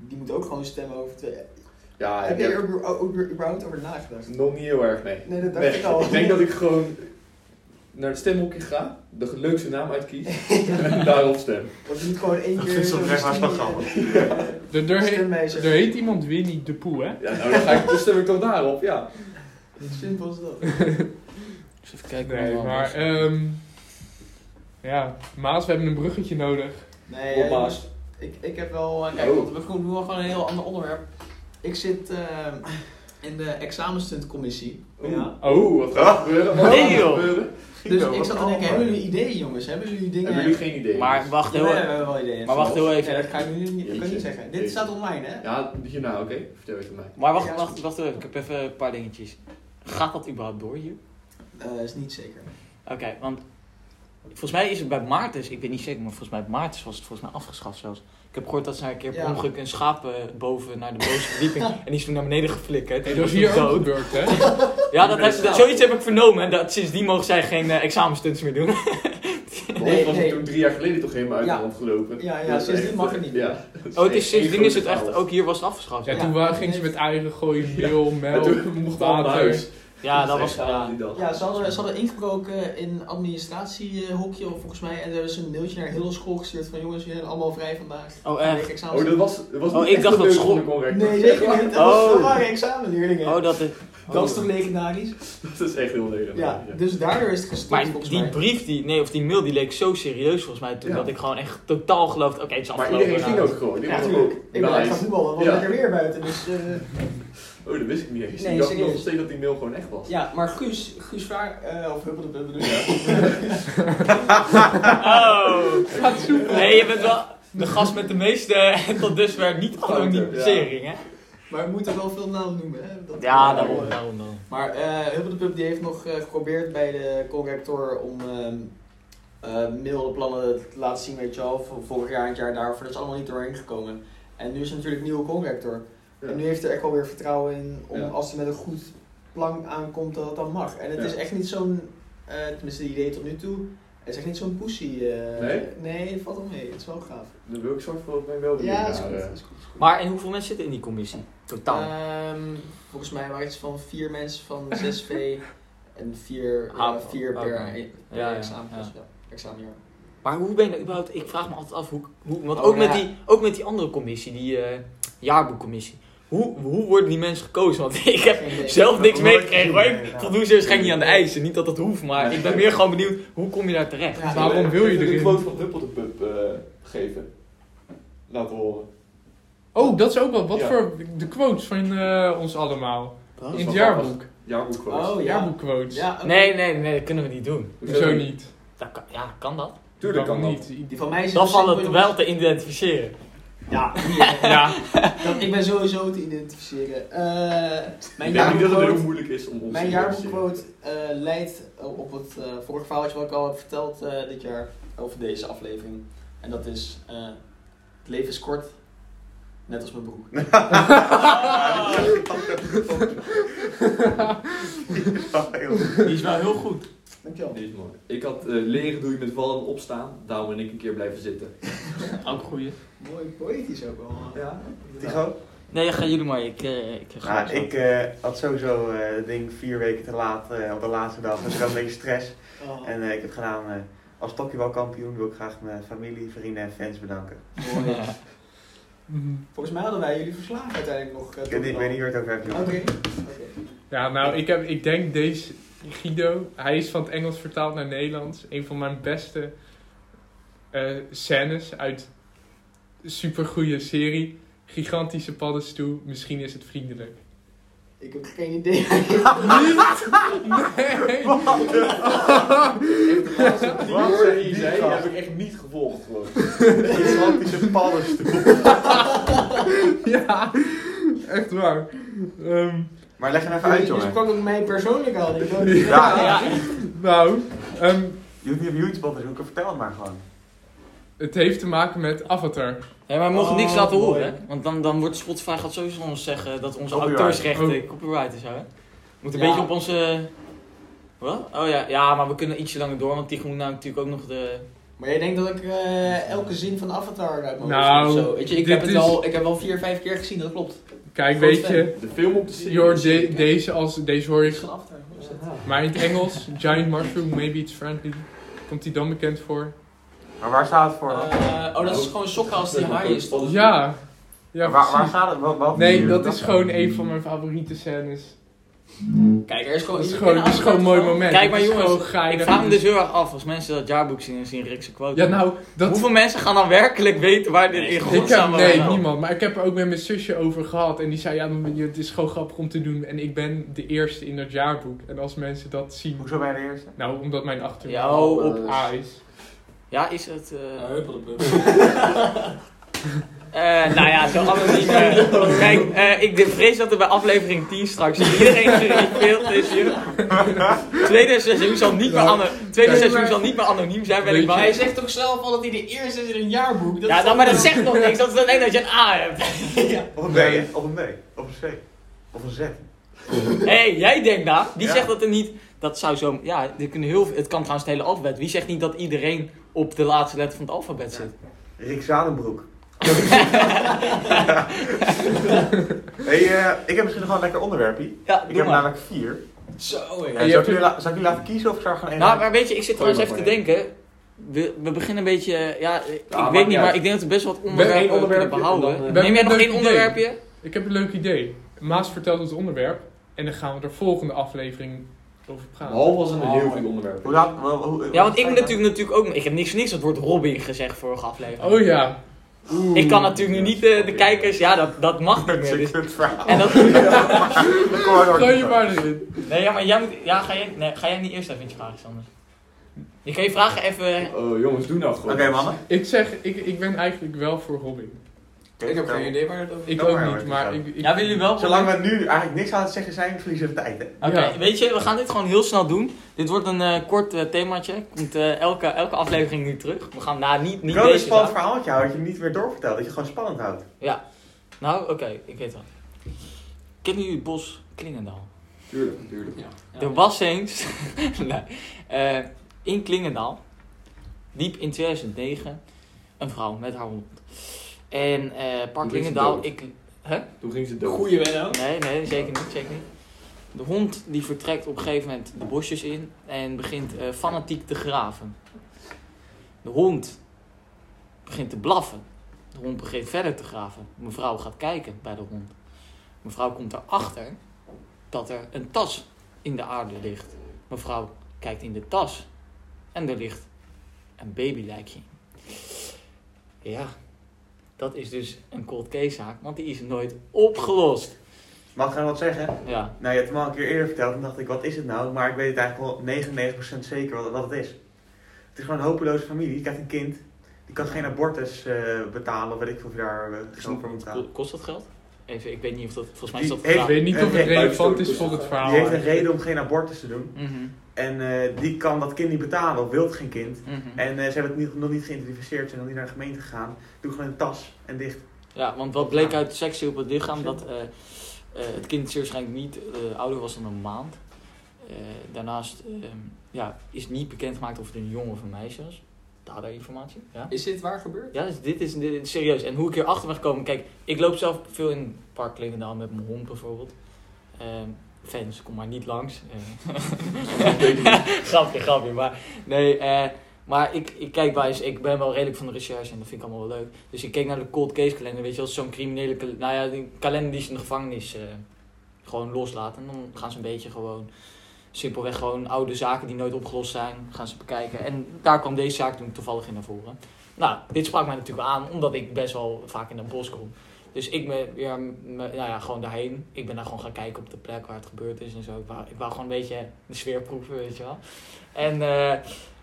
S4: die moet ook gewoon stemmen over twee...
S5: Ja,
S4: heb
S5: ik
S4: jij
S5: heb
S4: er ook- ook überhaupt over nagedacht?
S5: nog niet heel erg mee.
S4: Nee, dat dacht
S5: Nee,
S4: ik al.
S5: ik denk dat ik gewoon naar het stemhokje ga, de leukste naam uitkies en daarop stem.
S4: Want je moet gewoon één
S2: Dat
S4: keer...
S2: vind ik soms
S4: zo'n
S2: echt wel
S4: studie-
S2: grappig.
S3: Er, er, heet,
S4: Stemwijzer.
S3: er heet iemand Winnie de Poe, hè?
S5: Ja, nou dan, ga ik, dan stem ik toch daarop, ja.
S4: Simpel als dat.
S1: Dus even kijken
S3: Nee,
S1: hoe
S3: maar...
S1: anders.
S3: ehm ja, Maas, we hebben een bruggetje nodig.
S4: Nee,
S5: Op
S4: eh,
S5: Maas.
S4: Ik, ik heb wel, eh, kijk,
S5: Oh.
S4: want we doen doen wel gewoon een heel ander onderwerp. Ik zit eh, in de examenstuntcommissie. Ja.
S5: Oh, wat gaat er
S3: eh,
S5: gebeuren? Wat
S1: Nee,
S5: gaat er
S1: joh.
S5: gebeuren?
S4: Dus ik zat te denken, hebben jullie ideeën jongens? Hebben jullie dingen?
S5: Hebben jullie geen idee?
S3: Oh,
S1: Maar wacht
S4: Ja, we
S1: heel,
S4: hebben wel ideeën.
S1: maar wacht heel
S4: Ja,
S1: even.
S4: dat ga ik nu niet, ik kan
S5: Jeetje.
S4: niet zeggen. Dit
S5: Jeetje.
S4: staat online hè?
S5: Ja, hierna, oké. Vertel even mij.
S1: Maar wacht, wacht, wacht heel even. Ik heb even een paar dingetjes. Gaat dat überhaupt door hier?
S4: Eh, is niet zeker.
S1: Oké, want volgens mij is het bij Maartens, ik weet niet zeker, maar volgens mij bij Maartens was het volgens mij afgeschaft zelfs. Ik heb gehoord dat ze een keer per
S4: Ja.
S1: ongeluk een schaap eh, boven naar de bovenste verdieping en die is toen naar beneden geflikkerd.
S3: Hey,
S1: En
S3: dat is
S1: die
S3: hier
S1: toen
S3: ook
S1: dood.
S3: gebeurd, hè?
S1: Ja, dat heb, dat- zoiets heb ik vernomen. En dat, sindsdien mogen zij geen eh, examenstunts meer doen.
S5: Nee, was
S4: nee.
S5: het toen drie jaar geleden toch helemaal uit
S4: Ja.
S5: de hand gelopen?
S4: Ja, ja,
S5: Dat is
S4: sindsdien
S5: echt,
S4: mag het
S5: eh,
S4: niet.
S5: Ja.
S1: Oh, het is, sindsdien is het
S5: Eén grote
S1: echt,
S5: chaos.
S1: ook hier was het afgeschaft.
S3: Ja,
S1: Ja,
S3: toen
S4: Ja.
S3: wa- ging ze met eieren gooien, meel,
S5: En
S3: melk,
S5: toen mocht allemaal naar
S3: water.
S5: huis.
S1: dat was...
S5: echt gaaf,
S1: Ja.
S5: die dag.
S4: Ja, ze hadden, ze hadden ingebroken in administratiehokje of volgens mij. En toen hebben ze een mailtje naar heel de school gestuurd van jongens, jullie zijn allemaal vrij vandaag.
S1: Oh, echt?
S4: Vanwege examens.
S5: Oh, dat was, dat was
S1: Oh,
S5: niet
S1: ik
S5: echt
S1: dacht
S5: een
S1: dat
S5: leuk
S1: school-
S5: onderwerp.
S4: Nee, zeker niet. Dat
S1: Oh.
S4: was dat waren examenleerlingen.
S1: Oh, dat is...
S4: Dat is toch legendarisch?
S5: Dat is echt heel leuk.
S4: Ja, dus daardoor is het gestopt
S1: Maar
S4: volgens
S1: die
S4: mij.
S1: brief, die, nee, of die mail, die leek zo serieus volgens mij toen,
S5: Ja.
S1: dat ik gewoon echt totaal geloofde, oké, het is
S5: Maar
S1: afgelopen.
S5: iedereen ging
S1: nou.
S5: ook gewoon. Die
S4: Ja,
S5: was
S4: natuurlijk.
S5: ook.
S4: Ik ben uit
S5: Nice.
S4: gaan voetballen, want
S5: Ja.
S4: was lekker weer buiten. Dus, eh,
S5: Oh, dat wist ik niet eens.
S4: Nee,
S5: ik dacht
S4: serieus.
S5: nog steeds dat die mail gewoon echt was.
S4: ja, maar Guus, Guus Vaar, eh of Huppel de bedoel
S1: Oh! Gaat soepel. Nee, je bent wel de gast met de meeste tot dusver niet anonimisering, hè?
S4: Maar we moeten wel veel namen noemen, hè? Dat-
S1: Ja, daarom, daarom dan.
S4: Maar eh Huppel de Pup die heeft nog eh, geprobeerd bij de corrector om ehm eh, middelplannen te laten zien, weet je wel, voor vorig jaar en het jaar daarvoor. Dat is allemaal niet doorheen gekomen. En nu is er natuurlijk een nieuwe corrector.
S5: Ja.
S4: En nu heeft hij er echt wel weer vertrouwen in om
S5: Ja.
S4: als hij met een goed plan aankomt dat het dan mag. En het
S5: Ja.
S4: is echt niet zo'n, eh, tenminste die idee tot nu toe, Het is echt niet zo'n poesie. eh
S5: Nee?
S4: Nee, het valt wel mee. Het is wel gaaf.
S5: Dan wil ik zorg voor, ben ik wel benieuwd
S4: Ja,
S5: naar.
S4: is goed.
S5: eh,
S4: Is goed, is goed.
S1: Maar en hoeveel mensen zitten in die commissie? Totaal.
S4: Ehm, volgens mij waren het van vier mensen van 6V en vier,
S1: Ah,
S4: ja, vier per, e-
S1: oké.
S4: per
S1: Ja, ja,
S4: examen. Dus,
S1: ja.
S4: ja, examenjaar.
S1: maar hoe ben je er überhaupt... Ik vraag me altijd af hoe... hoe want
S4: Oh,
S1: ook, met
S4: ja.
S1: die, ook met die andere commissie, die eh, jaarboekcommissie. Hoe, hoe worden die mensen gekozen? Want ik heb
S4: Geen idee.
S1: zelf niks
S2: Nooit
S1: meegekregen.
S2: gezien,
S1: hoor.
S2: nee,
S1: Ik
S2: ja.
S1: voldoen ze waarschijnlijk niet aan de eisen. Niet dat dat hoeft, maar
S2: Nee.
S1: ik ben meer gewoon benieuwd. Hoe kom je daar terecht?
S4: Ja,
S3: Waarom wil je
S5: Ik heb
S3: erin?
S5: een quote van Ruppel de Pub eh, geven. Laten horen.
S3: Oh, dat is ook wel. Wat
S5: Ja.
S3: voor de quotes van eh, ons allemaal.
S5: Dat is
S3: In het
S5: wel grappig.
S3: jaarboek.
S5: Jaarboek quotes.
S4: Oh ja.
S3: Jaarboekquotes.
S4: ja oké.
S1: Nee, nee, nee. Dat kunnen we niet doen.
S3: Hoezo niet?
S1: Dat kan, ja, kan dat?
S5: Tuurlijk kan dat.
S3: niet.
S4: Die van mij is
S1: Dan valt het
S4: simpel,
S1: wel
S4: jongens.
S1: te identificeren.
S4: Ja, die, eh,
S3: Ja,
S4: dat, ik ben sowieso te identificeren. Eh, mijn
S5: ik denk niet dat het heel
S4: jaarboekquote
S5: moeilijk is om ons
S4: mijn
S5: te
S4: jaarboekquote, eh, leidt op het eh, vorige verhaal wat je ook al hebt verteld eh, dit jaar over deze aflevering. En dat is, eh, het leven is kort, net als mijn broek.
S1: Die is wel heel goed.
S4: Dankjewel.
S5: Dit is mooi. Ik had eh, leren doe je met vallen en opstaan, daarom ben ik een keer blijven zitten.
S1: Ook goeie.
S4: Mooi poëtisch ook wel.
S5: Ja.
S2: Tigo?
S1: Nee, gaan jullie maar. Ik, eh, ik ga
S2: Nou, ik eh, had sowieso eh, het ding vier weken te laat eh, op de laatste dag, dus ik had een beetje stress.
S4: Oh,
S2: En eh, ik heb gedaan, eh, als kampioen wil ik graag mijn familie, vrienden en fans bedanken.
S4: mooi.
S3: Mhm.
S4: Volgens mij hadden wij jullie verslagen uiteindelijk nog. eh,
S2: Ik weet niet- ik weet niet waar het over hebt,
S4: Oké.
S2: jongen.
S4: oké.
S3: ja nou, ik, heb, ik denk deze Guido, hij is van het Engels vertaald naar Nederlands. Een van mijn beste eh scènes uit een supergoeie serie. Gigantische paddenstoel, misschien is het vriendelijk.
S4: Ik heb geen idee.
S3: Nee!
S5: Die
S2: Wat
S5: woorden
S2: zegt
S5: die je
S2: die
S5: zei, die
S2: gast?
S5: heb ik echt niet gevolgd gewoon.
S2: Gigantische paddenstoel.
S3: ja, echt waar. Ehm,
S2: Maar leg hem even uit,
S4: Je
S2: jongen.
S4: sprak ook mij persoonlijk dus aan. Ik dacht,
S2: Ja,
S3: nou, ehm,
S2: Je hoeft niet op YouTube op te zoeken, vertel het maar gewoon.
S3: het heeft te maken met Avatar.
S1: Ja, maar we mogen niks
S4: Oh,
S1: laten
S4: mooi.
S1: horen, hè? Want dan, dan wordt Spotify gaat sowieso ons zeggen dat onze
S2: Copyright.
S3: Oh.
S1: auteursrechten copyright is, hè? We moeten een
S4: Ja.
S1: beetje op onze... eh, Wat? Oh ja, ja, maar we kunnen ietsje langer door, want die moet nou natuurlijk ook nog de...
S4: Maar jij denkt dat ik eh, elke zin van Avatar uit mijn
S3: Nou,
S4: hoofd of zo. Weet je, ik
S3: dit
S4: heb, het
S3: is-
S4: al, ik heb al vier, vijf keer gezien, dat klopt.
S3: Kijk,
S4: Groot
S3: weet
S4: fan.
S3: je,
S5: De film op de serie.
S3: Jor, de- deze, als, deze hoor
S4: Het is
S3: je.
S4: van Avatar. hoe is dat?
S3: Maar in het Engels, giant mushroom, maybe it's friendly. Komt die dan bekend voor?
S2: Maar waar staat het voor? dan?
S4: Eh, oh, dat is gewoon sokken als die haai is. toch?
S3: Ja, ja
S2: waar, waar
S3: precies.
S2: staat het? Wat, wat?
S3: Nee, dat is gewoon een van mijn favoriete
S1: Oh,
S3: scènes.
S4: Kijk, er is gewoon...
S3: Dat is
S4: je
S3: gewoon,
S4: kent
S3: dat is gewoon een
S4: Avatar
S3: mooi
S4: gewoon.
S3: moment.
S1: Kijk maar
S3: Het is
S1: jongens,
S3: gewoon geinig.
S1: Ik vraag me dus heel erg af, als mensen dat jaarboek zien en zien Rickse quote.
S3: Ja, nou, dat...
S1: Hoeveel mensen gaan dan werkelijk weten waar dit
S4: Nee,
S1: in
S4: ik
S3: Ik
S1: godsnaam
S3: heb,
S1: wel
S3: nee,
S1: gaat?
S3: niemand. Maar ik heb er ook met mijn zusje over gehad. En die zei, ja, dan- het is gewoon grappig om te doen. En ik ben de eerste in dat jaarboek. En als mensen dat zien...
S2: Hoezo ben je de eerste?
S3: Nou, omdat mijn achternaam
S1: Ja, oh,
S3: op
S5: eh,
S3: A is.
S1: Ja, is het... eh,
S4: Ja, huppeldepup.
S1: Eh, nou ja, zo anoniem. eh. Kijk, eh, ik vrees dat er bij aflevering 10 straks iedereen gerefilmd is hier. Tweede seizoen zal niet meer, ano tweede
S3: Kijk,
S1: seizoen
S3: maar-
S1: zal niet meer anoniem zijn, ben ik
S3: Weet je-
S4: Hij
S1: bang.
S4: zegt toch zelf al dat hij de eerste is in een jaarboek. Dat
S1: Ja,
S4: is
S1: dan,
S4: toch-
S1: maar dat zegt nog niks. Dat is alleen dat je een A hebt.
S2: Of een B,
S3: Nee.
S2: of een B, of een C, of een Z.
S1: Hé, hey, jij denkt nou, die
S2: Ja.
S1: zegt dat er niet. Dat zou zo. Ja, er kunnen heel, veel- het kan trouwens het hele alfabet. Wie zegt niet dat iedereen op de laatste letter van het alfabet zit?
S2: Rick Zadenbroek. hey, eh, ik heb misschien nog wel een lekker onderwerpje.
S1: Ja,
S2: Ik
S1: doe
S2: heb
S1: maar.
S2: namelijk vier.
S4: Zo, hé.
S2: En
S3: je
S2: zou, ik
S3: hebt
S2: jullie
S3: er-
S2: la- zou ik jullie laten kiezen of ik zou er gewoon één
S1: Nou,
S2: laten?
S1: maar weet je, ik zit
S5: Gooi
S1: trouwens even
S5: maar
S1: te
S5: gewoon
S1: denken. We, we beginnen een beetje, eh, ja, ik
S5: maakt
S1: weet
S5: niet
S1: niet,
S5: uit.
S1: maar ik denk dat we best wat
S3: één
S1: onderwerpen kunnen
S5: onderwerpje en
S1: behouden.
S5: dan, eh,
S1: Neem jij nog
S3: Leuk
S1: één
S3: idee.
S1: onderwerpje?
S3: Ik heb een leuk idee. Maas vertelt het onderwerp en dan gaan we er volgende aflevering over praten.
S5: Behalve als een heel
S4: Oh.
S5: veel onderwerp.
S2: Hoe laat? wel- hoe- hoe-
S1: Ja, want ik moet
S2: hoe-
S1: natuurlijk, natuurlijk ook, ik heb niks voor niks, dat wordt Robin gezegd vorige aflevering.
S3: Oh ja. Oeh.
S1: Ik kan natuurlijk nu niet eh, de kijkers, ja, dat, dat mag niet
S2: Dat is
S1: meer.
S2: een
S1: dus-
S2: kut verhaal.
S1: en dat,
S2: Kom maar
S3: Gooi je
S2: door.
S3: maar erin.
S1: nee, ja, maar jij moet, ja, ga jij, nee, ga jij niet eerst even iets vragen, Sander? Je kan je vragen even,
S5: Oh jongens, doe nou
S2: Oké
S5: gewoon.
S2: mannen.
S3: Ik zeg, ik, ik ben eigenlijk wel voor Robin.
S4: Ik heb geen idee waar dat over
S3: Ik
S2: Oh,
S3: ook
S2: maar,
S3: niet,
S2: maar
S3: maar
S2: ik
S3: ik... ik
S1: ja, willen jullie wel?
S2: Zolang we nu eigenlijk niks aan het zeggen zijn, verliezen we tijd. Hè?
S1: Oké,
S3: Ja.
S1: weet je, we gaan dit gewoon heel snel doen. Dit wordt een eh, kort eh, themaatje, komt eh, elke, elke aflevering nu terug. We gaan, nou, niet,
S2: Ik
S1: niet
S2: wil een
S1: deze
S2: spannend
S1: zaak.
S2: verhaaltje houden dat je niet meer doorvertelt. Dat je gewoon spannend houdt.
S1: Nou, oké, ik weet wel. Kennen jullie het bos Klingendaal?
S5: Tuurlijk, tuurlijk.
S4: Ja.
S1: Er was eens nee, eh, in Klingendaal liep in 2009 een vrouw met haar hond. En eh Park
S5: Die is
S1: Lingendaal,
S5: dood.
S1: ik...
S5: Toen ging ze dood.
S4: Goeie Menno.
S1: Nee, nee, zeker niet, zeker niet. De hond die vertrekt op een gegeven moment de bosjes in en begint eh, fanatiek te graven. De hond begint te blaffen. De hond begint verder te graven. Mevrouw gaat kijken bij de hond. Mevrouw komt erachter dat er een tas in de aarde ligt. Mevrouw kijkt in de tas en er ligt een babylijkje in. Ja, dat is dus een cold case zaak, want die is nooit opgelost.
S2: Mag ik nou wat zeggen?
S1: Ja,
S2: Nou, je hebt me al een keer eerder verteld en dacht ik, wat is het nou? Maar ik weet het eigenlijk wel 99% zeker wat, wat het is. Het is gewoon een hopeloze familie. Je krijgt een kind. Die kan geen abortus eh, betalen of weet ik hoeveel daar eh, geld voor moet betalen.
S1: ko- kost dat geld? Even, ik weet niet of dat, volgens mij is
S2: Die
S1: dat
S2: heeft-
S3: Ik weet niet of het
S2: Eh,
S3: relevant is voor het verhaal.
S2: Die heeft een
S3: eigenlijk.
S2: reden om geen abortus te doen.
S1: Mhm,
S2: En eh, die kan dat kind niet betalen of wil geen kind.
S1: mhm.
S2: En eh, ze hebben het niet, nog niet geïdentificeerd, ze zijn nog niet naar de gemeente gegaan. Doe gewoon een tas en dicht.
S1: Ja, want wat bleek uit de sectie op het lichaam, dat eh, eh, het kind zeer waarschijnlijk niet eh, ouder was dan een maand. Eh, daarnaast eh, ja, is niet bekendgemaakt of het een jongen of een meisje was. Data-informatie. Ja,
S4: Is dit waar gebeurd?
S1: ja dus dit, is, dit is serieus. En hoe ik hierachter ben gekomen, kijk, ik loop zelf veel in het park Klingendaal met mijn hond bijvoorbeeld. Ehm, fans, kom maar niet langs. Eh. grapje, grapje. Maar, nee, eh, maar ik, ik kijk bij eens, ik ben wel redelijk van de recherche en dat vind ik allemaal wel leuk. Dus ik keek naar de cold case kalender, weet je wel, zo'n criminele kal- nou ja, die kalender die ze in de gevangenis eh, gewoon loslaat. En dan gaan ze een beetje gewoon, simpelweg gewoon oude zaken die nooit opgelost zijn, gaan ze bekijken. En daar kwam deze zaak toen toevallig in naar voren. Nou, dit sprak mij natuurlijk aan, omdat ik best wel vaak in het bos kom. Dus ik ben weer, me- nou ja, gewoon daarheen. Ik ben daar gewoon gaan kijken op de plek waar het gebeurd is en zo. Ik wou, ik wou gewoon een beetje de sfeer proeven, weet je wel. En eh,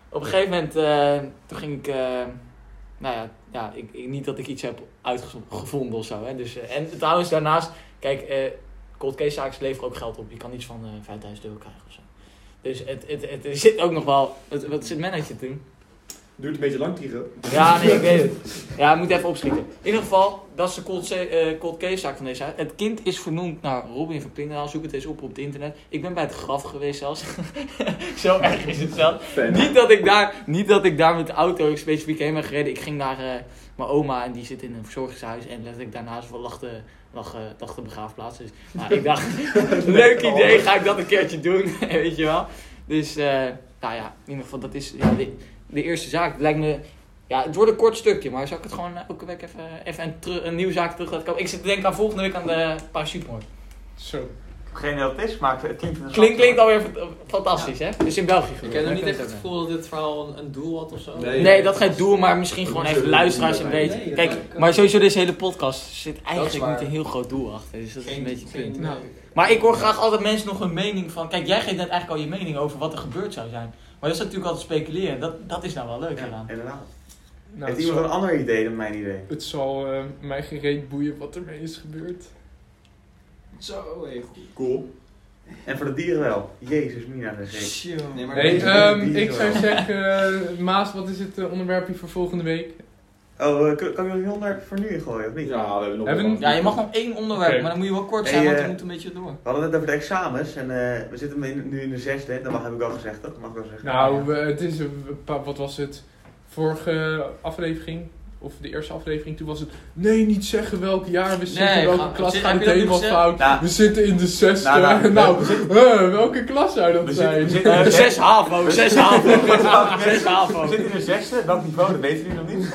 S1: op een gegeven moment, eh, toen ging ik, eh, nou ja, ja ik, ik- niet dat ik iets heb uitgevonden of zo. Hè. Dus, eh, en trouwens, daarnaast, kijk, eh cold case zaken leveren ook geld op. Je kan iets van eh 5000 euro krijgen of zo. Dus het, het, het, er zit ook nog wel, het, wat zit mannetje te doen?
S5: Duurt een beetje lang, Tiro.
S1: Ja, nee, ik weet het. Ja, ik moet even opschieten. In ieder geval, dat is de cold, ca- eh, cold case zaak van deze huis. Het kind is vernoemd naar Robin van Plingendaal. Zoek het eens op op het internet. Ik ben bij het graf geweest zelfs. Zo erg is het zelfs.
S5: Fan.
S1: Niet dat ik daar, niet dat ik daar met de auto specifiek heen ben gereden. Ik ging naar eh, mijn oma en die zit in een verzorgingshuis. En letterlijk daarnaast wel lag de, lag, eh, lag de begraafplaats. Dus nou, ik dacht, leuk idee, ga ik dat een keertje doen. Weet je wel. Dus, eh, nou ja, in ieder geval, dat is ja, de, de eerste zaak. Het lijkt me... Ja, het wordt een kort stukje, maar zou ik het gewoon eh, elke week even, even een, teru- een nieuwe zaak terug laten komen? Ik zit te denken aan volgende week aan de parachutemoord.
S3: Zo.
S2: Geen idee wat het is, maar het klinkt
S1: Klinkt, klinkt alweer fa- fantastisch, hè? Dus in België
S4: Ik
S1: gebeurd.
S4: heb nog niet
S1: Daar
S4: echt
S1: kun
S4: het
S1: je ook
S4: gevoel dat dit verhaal een, een doel had of zo.
S5: Nee.
S1: mee. Nee, dat geen doel, maar misschien gewoon even luisteraars een
S5: Nee,
S1: beetje.
S4: dat
S1: Kijk,
S4: kan ik ook.
S1: maar sowieso deze hele podcast zit
S4: is
S1: eigenlijk
S4: waar.
S1: niet een heel groot doel achter. Dus dat is een beetje het punt.
S3: Nou.
S1: Maar ik hoor graag altijd mensen nog hun mening van... Kijk, jij geeft net eigenlijk al je mening over wat er gebeurd zou zijn. Maar dat is natuurlijk altijd speculeren. Dat, dat is nou wel leuk
S2: Ja,
S1: gedaan.
S2: inderdaad.
S3: Nou,
S2: Heeft
S3: het
S2: iemand
S3: zal,
S2: een ander idee dan mijn idee?
S3: het zal eh, mij gereed boeien wat ermee is gebeurd.
S4: Zo, heel goed.
S5: Cool.
S2: En voor de dieren wel. Jezus, Mina, dat is ik.
S4: Tjoh.
S2: Nee, maar-
S3: Nee,
S2: deze
S3: ehm,
S2: die is
S3: ik zou
S2: wel.
S3: zeggen, eh, Maas, wat is het eh, onderwerpje voor volgende week?
S2: Oh, eh, kan kan ik nog een onderwerp voor nu ingooien, of niet?
S5: Ja, we hebben nog
S3: Hebben-
S5: wel-
S1: Ja, je mag nog één onderwerp,
S3: Oké.
S1: maar dan moet je wel kort
S2: Hey,
S1: zijn, want
S2: eh,
S1: we moeten een beetje door.
S2: We hadden het net over de examens en eh, we zitten in- nu in de zesde, hè. dat mag, heb ik al gezegd, toch? Mag ik wel zeggen.
S3: Nou, we- het is, een pa- wat was het? Vorige aflevering, of de eerste aflevering, toen was het... Nee, niet zeggen welk jaar we zitten,
S4: Nee,
S3: welke
S4: ga-
S3: klas
S4: zit-
S3: gaat
S4: heb
S3: het
S4: je dat
S3: helemaal
S4: niet
S3: fout.
S2: Nou.
S3: we zitten in de zesde.
S2: Nou, nou,
S3: Nou,
S2: we-
S3: eh, welke klas zou dat
S2: we zitten-
S3: zijn?
S2: we zitten- Eh,
S1: zes
S2: zes
S1: HAVO, zes HAVO, zes
S2: We
S1: HAVO.
S2: zitten in de zesde, welk niveau, dat weten jullie nog niet.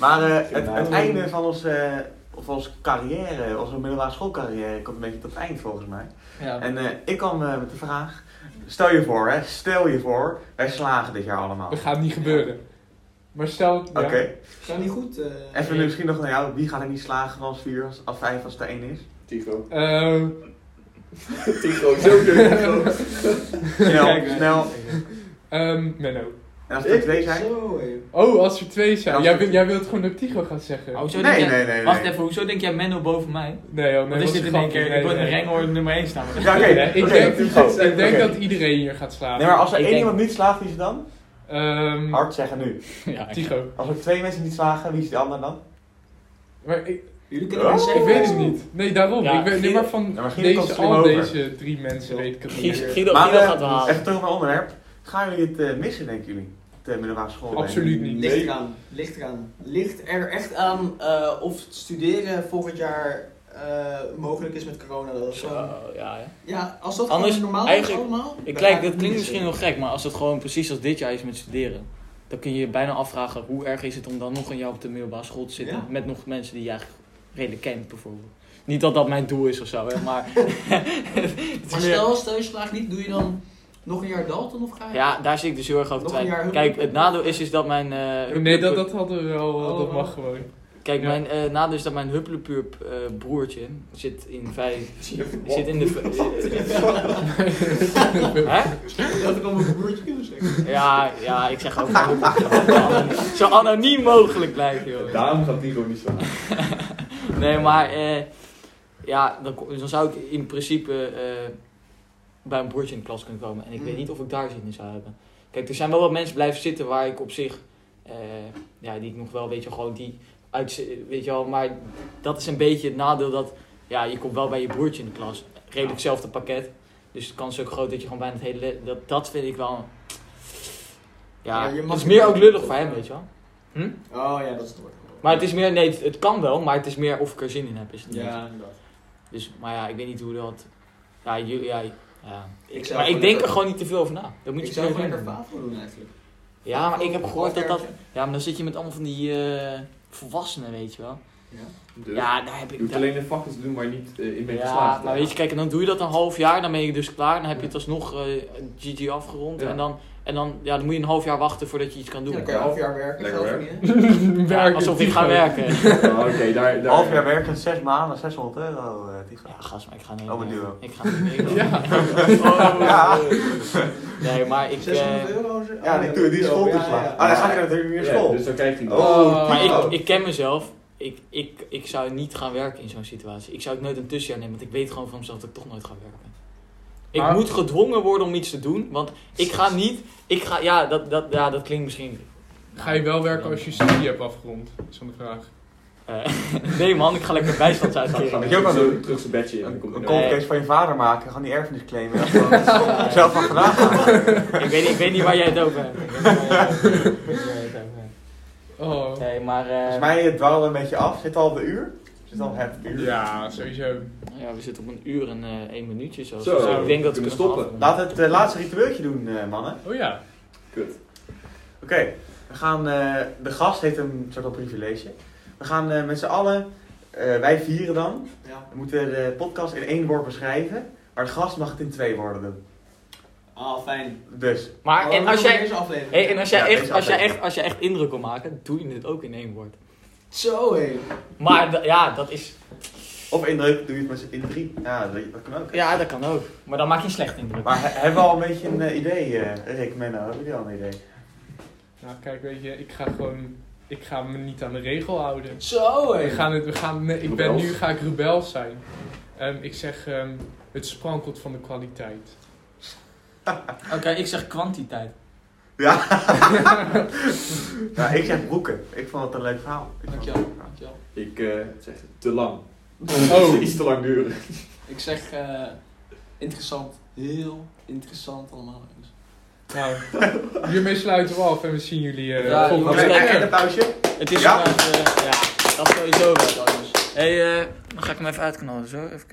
S2: Maar eh, het, het einde van onze, eh, of onze carrière, onze middelbare schoolcarrière, komt een beetje tot het eind volgens mij.
S4: Ja.
S2: En eh, ik kwam eh, met de vraag, stel je voor hè, stel je voor, wij slagen dit jaar allemaal.
S3: Dat
S2: Oké,
S3: gaat niet gebeuren. Maar stel... ja.
S4: Gaat niet goed. eh.
S2: even nu misschien nog naar jou, wie gaat er niet slagen van als vier, als, als vijf, als het er één is?
S5: Tigo.
S3: Eh,
S5: Tigo, zo leuk. Tigo.
S2: Snel, snel.
S3: ehm, Menno.
S2: En als het er twee zijn?
S4: Zo, hé.
S3: Oh, als er twee zijn.
S2: Als
S3: Jij,
S2: er-
S3: wil- jij wilt gewoon dat Tigo gaat zeggen.
S1: Oh,
S4: Oh.
S1: Hoezo
S2: Nee,
S1: denk jij-
S2: nee, nee, nee.
S1: Wacht even, hoezo denk jij Menno boven mij?
S3: Nee, joh, nee,
S1: Wat is
S3: was
S1: dit
S3: een
S1: in één
S3: grapje.
S1: keer?
S3: Nee,
S1: Ik word in
S3: nee.
S1: de renghoorn nummer 1 staan.
S2: Ja, oké.
S3: Nee, ik
S2: oké.
S3: denk,
S2: Oké.
S3: ik denk
S2: Oké.
S3: dat iedereen hier gaat slapen.
S2: Nee, maar als er
S1: Ik
S2: één
S1: denk-
S2: iemand niet slaagt, wie is het dan?
S3: Ehm,
S2: Hard zeggen nu.
S1: Ja,
S3: Tycho.
S2: Als er twee mensen niet slagen, wie is de ander dan?
S3: Maar ik,
S4: Jullie kunnen het
S2: Oh.
S4: zeggen.
S3: ik weet het niet. Nee, daarom.
S1: Ja,
S3: ik weet nee,
S1: Guido-
S3: maar van
S2: Ja, maar Guido
S3: deze,
S2: komt slim
S3: al
S2: over.
S3: deze drie mensen weet ik het niet.
S1: Guido, Guido
S2: Maar, eh,
S1: gaat wel halen.
S2: Even terug op mijn onderwerp. Gaan jullie het eh, missen, denken jullie? de middelbare school bent.
S3: Absoluut niet.
S4: Ligt eraan. Ligt eraan. Ligt er echt aan eh, of het studeren volgend jaar eh, mogelijk is met corona. Dat is
S1: Zo,
S4: gewoon-
S1: ja, hè.
S4: ja, als dat
S1: Anders,
S4: gewoon normaal is
S1: eigenlijk-
S4: allemaal. dan
S1: Ik
S4: ga
S1: kijk,
S4: ik
S1: dat
S4: niet
S1: klinkt misschien
S4: zingen.
S1: heel gek, maar als het gewoon precies als dit jaar is met studeren, dan kun je je bijna afvragen hoe erg is het om dan nog een jaar op de middelbare school te zitten
S4: Ja.
S1: met nog mensen die je eigenlijk redelijk kent, bijvoorbeeld. Niet dat dat mijn doel is of zo, hè, maar. het
S4: Maar
S1: is meer-
S4: stel, stel je slaagt niet, doe je dan nog een jaar Dalton of ga je?
S1: Ja, daar zie ik dus heel erg over
S4: Nog een jaar
S1: twijfelen.
S4: hup-
S1: Kijk, het nadeel is, is dat mijn. eh,
S3: Nee, dat,
S1: hupplepup-
S3: dat hadden we wel.
S4: Oh,
S3: dat mag
S4: oh.
S3: gewoon.
S1: Kijk,
S3: Ja.
S1: mijn eh, nadeel is dat mijn hupplepup eh, broertje zit in vijf. zit in de. Hè?
S4: Dat had ik al mijn broertje kunnen zeggen.
S1: Ja, ja, ik zeg ook gewoon. Zo anoniem mogelijk blijven, joh.
S5: Daarom gaat die gewoon niet slaan.
S1: Nee, maar eh, ja, dan, ko- dan zou ik in principe eh, bij een broertje in de klas kunnen komen. En ik weet
S4: Mm.
S1: niet of ik daar zin in zou hebben. Kijk, er zijn wel wat mensen blijven zitten waar ik op zich, eh, ja, die ik nog wel, weet je, wel, gewoon die uit, weet je wel. Maar dat is een beetje het nadeel dat, ja, je komt wel bij je broertje in de klas. Redelijk hetzelfde pakket. Dus de kans is ook groot dat je gewoon bijna het hele, le- dat, dat vind ik wel, ja,
S4: Ja, je mag
S1: het is
S4: niet-
S1: meer ook lullig voor hem, weet je wel.
S4: Oh ja, dat is het woord.
S1: Maar het is meer, nee, het, het kan wel, maar het is meer of ik er zin in heb, is het niet.
S4: Ja, inderdaad.
S1: Dus, maar ja, ik weet niet hoe dat. Ja, jullie. Ja, ja.
S4: Ik zou
S1: maar ik
S4: gewoon
S1: denk er
S4: lekker-
S1: gewoon niet te veel over na. Dat moet
S4: Ik
S1: je
S4: zou
S1: zelf
S4: gewoon
S1: lekker
S4: lekker favo doen eigenlijk.
S1: Ja, maar ik heb
S4: Gewoon
S1: gehoord dat dat.
S4: halfjaartje.
S1: Ja, maar dan zit je met allemaal van die eh, volwassenen, weet je wel.
S4: Ja.
S1: Ja, daar heb
S5: Dus? Je
S1: ik.
S5: hoeft
S1: Daar,
S5: alleen de vakjes te doen, maar niet eh, in mee
S1: ja,
S5: geslaagd.
S1: maar weet je, kijk, en dan doe je dat een half jaar, dan ben je dus klaar. Dan heb je het alsnog eh, GG afgerond.
S5: Ja.
S1: En, dan, en dan, ja, dan moet je een half jaar wachten voordat je iets kan doen.
S4: Ja,
S1: Ja,
S4: dan kan je een half jaar werken.
S5: Lekker
S4: geld
S5: werken.
S4: verdienen.
S3: Werken,
S1: alsof ik
S3: die
S1: ga
S3: gewoon.
S1: werken.
S5: Ja, Oh, Oké, daar... daar
S2: Half jaar werken, zes maanden, 600 euro. eh, die
S1: Ja,
S2: gaat.
S1: gast, maar ik ga niet.
S2: Oh, maar nu wel.
S1: ik ga niet.
S3: Ja.
S5: Oh,
S2: Ja.
S1: Nee, maar ik. eh,
S4: 600 euro? zo-
S2: Ja,
S4: oh,
S2: die, die
S4: ja,
S2: school
S4: ja,
S2: te
S4: ja,
S2: slaan.
S4: ja.
S2: Ah, dan gaat hij natuurlijk niet
S5: Ja,
S2: meer school.
S5: dus dan krijg je niet.
S2: Oh,
S1: Maar
S2: Oh.
S1: ik, ik ken mezelf. Ik, ik, ik zou niet gaan werken in zo'n situatie. Ik zou ook nooit een tussenjaar nemen, want ik weet gewoon van mezelf dat ik toch nooit ga werken. Ik
S3: Maar-
S1: moet gedwongen worden om iets te doen, want ik ga niet. Ik ga, ja, dat, dat, ja, dat klinkt misschien.
S3: Ga je wel werken als je studie hebt afgerond? Is dan de vraag.
S1: Eh, nee, man, ik ga lekker bijstandsuitkering.
S5: Weet
S2: je ook wel doen?
S5: Terug zijn bedje in. dan
S2: Een,
S5: komt
S2: een
S5: er-
S1: kom-
S2: cold
S1: Nee.
S2: case van je vader maken, gewoon die erfenis claimen. Dat is gewoon Zelf van vandaag
S1: ik, weet, niet- ik weet niet waar jij het over hebt. Ik weet niet waar jij het over hebt. Ik weet niet waar jij het over hebt.
S3: Oh.
S1: Nee, maar.
S2: Volgens
S1: eh,
S2: mij eh, dwalen we een beetje af. Zit al op de uur? Zit al op het uur?
S3: Ja, sowieso.
S2: eh,
S1: ja, we zitten op een uur en eh één minuutje zo.
S5: Zo,
S1: Dus ik denk dat we
S5: kunnen
S1: kunnen
S5: stoppen.
S1: stoppen.
S2: Laat het eh, laatste ritueeltje doen, eh, mannen.
S3: Oh ja.
S5: Kut.
S2: Oké, we gaan. eh, de gast heeft een soort van privilege. We gaan eh, met z'n allen, eh, wij vieren dan,
S4: Ja.
S2: we moeten de podcast in één woord beschrijven, maar de gast mag het in twee woorden doen.
S4: Ah, fijn.
S2: Dus,
S1: Maar en
S4: Oh,
S1: als jij.
S4: Deze aflevering.
S1: Hey, en als jij,
S2: Ja,
S1: echt,
S2: deze
S1: als, jij
S2: aflevering.
S1: echt, als jij echt indruk wil maken, doe je het ook in één woord.
S4: Zo hé.
S1: Maar da- ja, dat is.
S2: of indruk, doe je het met z'n in drie. Ja, dat, dat kan ook.
S1: Ja, dat kan ook. Maar dan maak je een slecht indruk.
S2: Maar he- hebben we al een beetje een eh, idee, eh, Rick Menno? Hebben jullie al een idee?
S3: Nou, kijk, weet je, ik ga gewoon. Ik ga me niet aan de regel houden.
S4: Zo
S3: We
S4: hé.
S3: gaan het, we gaan, nee, ik ben
S5: Rebels?
S3: nu ga ik rebels zijn. Ehm, ik zeg, ehm, het sprankelt van de kwaliteit.
S1: Oké, ik zeg kwantiteit.
S2: Ja. ja, ik zeg broeken. Ik vond het een leuk verhaal. Ik vond het een leuk verhaal.
S4: Dankjewel.
S5: Ik eh, zeg te lang.
S3: Oh.
S5: Iets te lang duren.
S4: Ik zeg eh, interessant. Heel interessant allemaal. jongens.
S3: Nou, hiermee sluiten we af en we zien jullie eh,
S1: Ja,
S2: Oké,
S3: volgende
S1: jongens,
S3: week.
S1: kijk,
S2: en een pauze.
S1: Het is
S2: Ja?
S1: vandaag, eh, ja, dat sowieso wel.
S4: Dag, jongens.
S1: eh, Hé, hey, dan ga ik hem even uitknallen zo. Even kijken.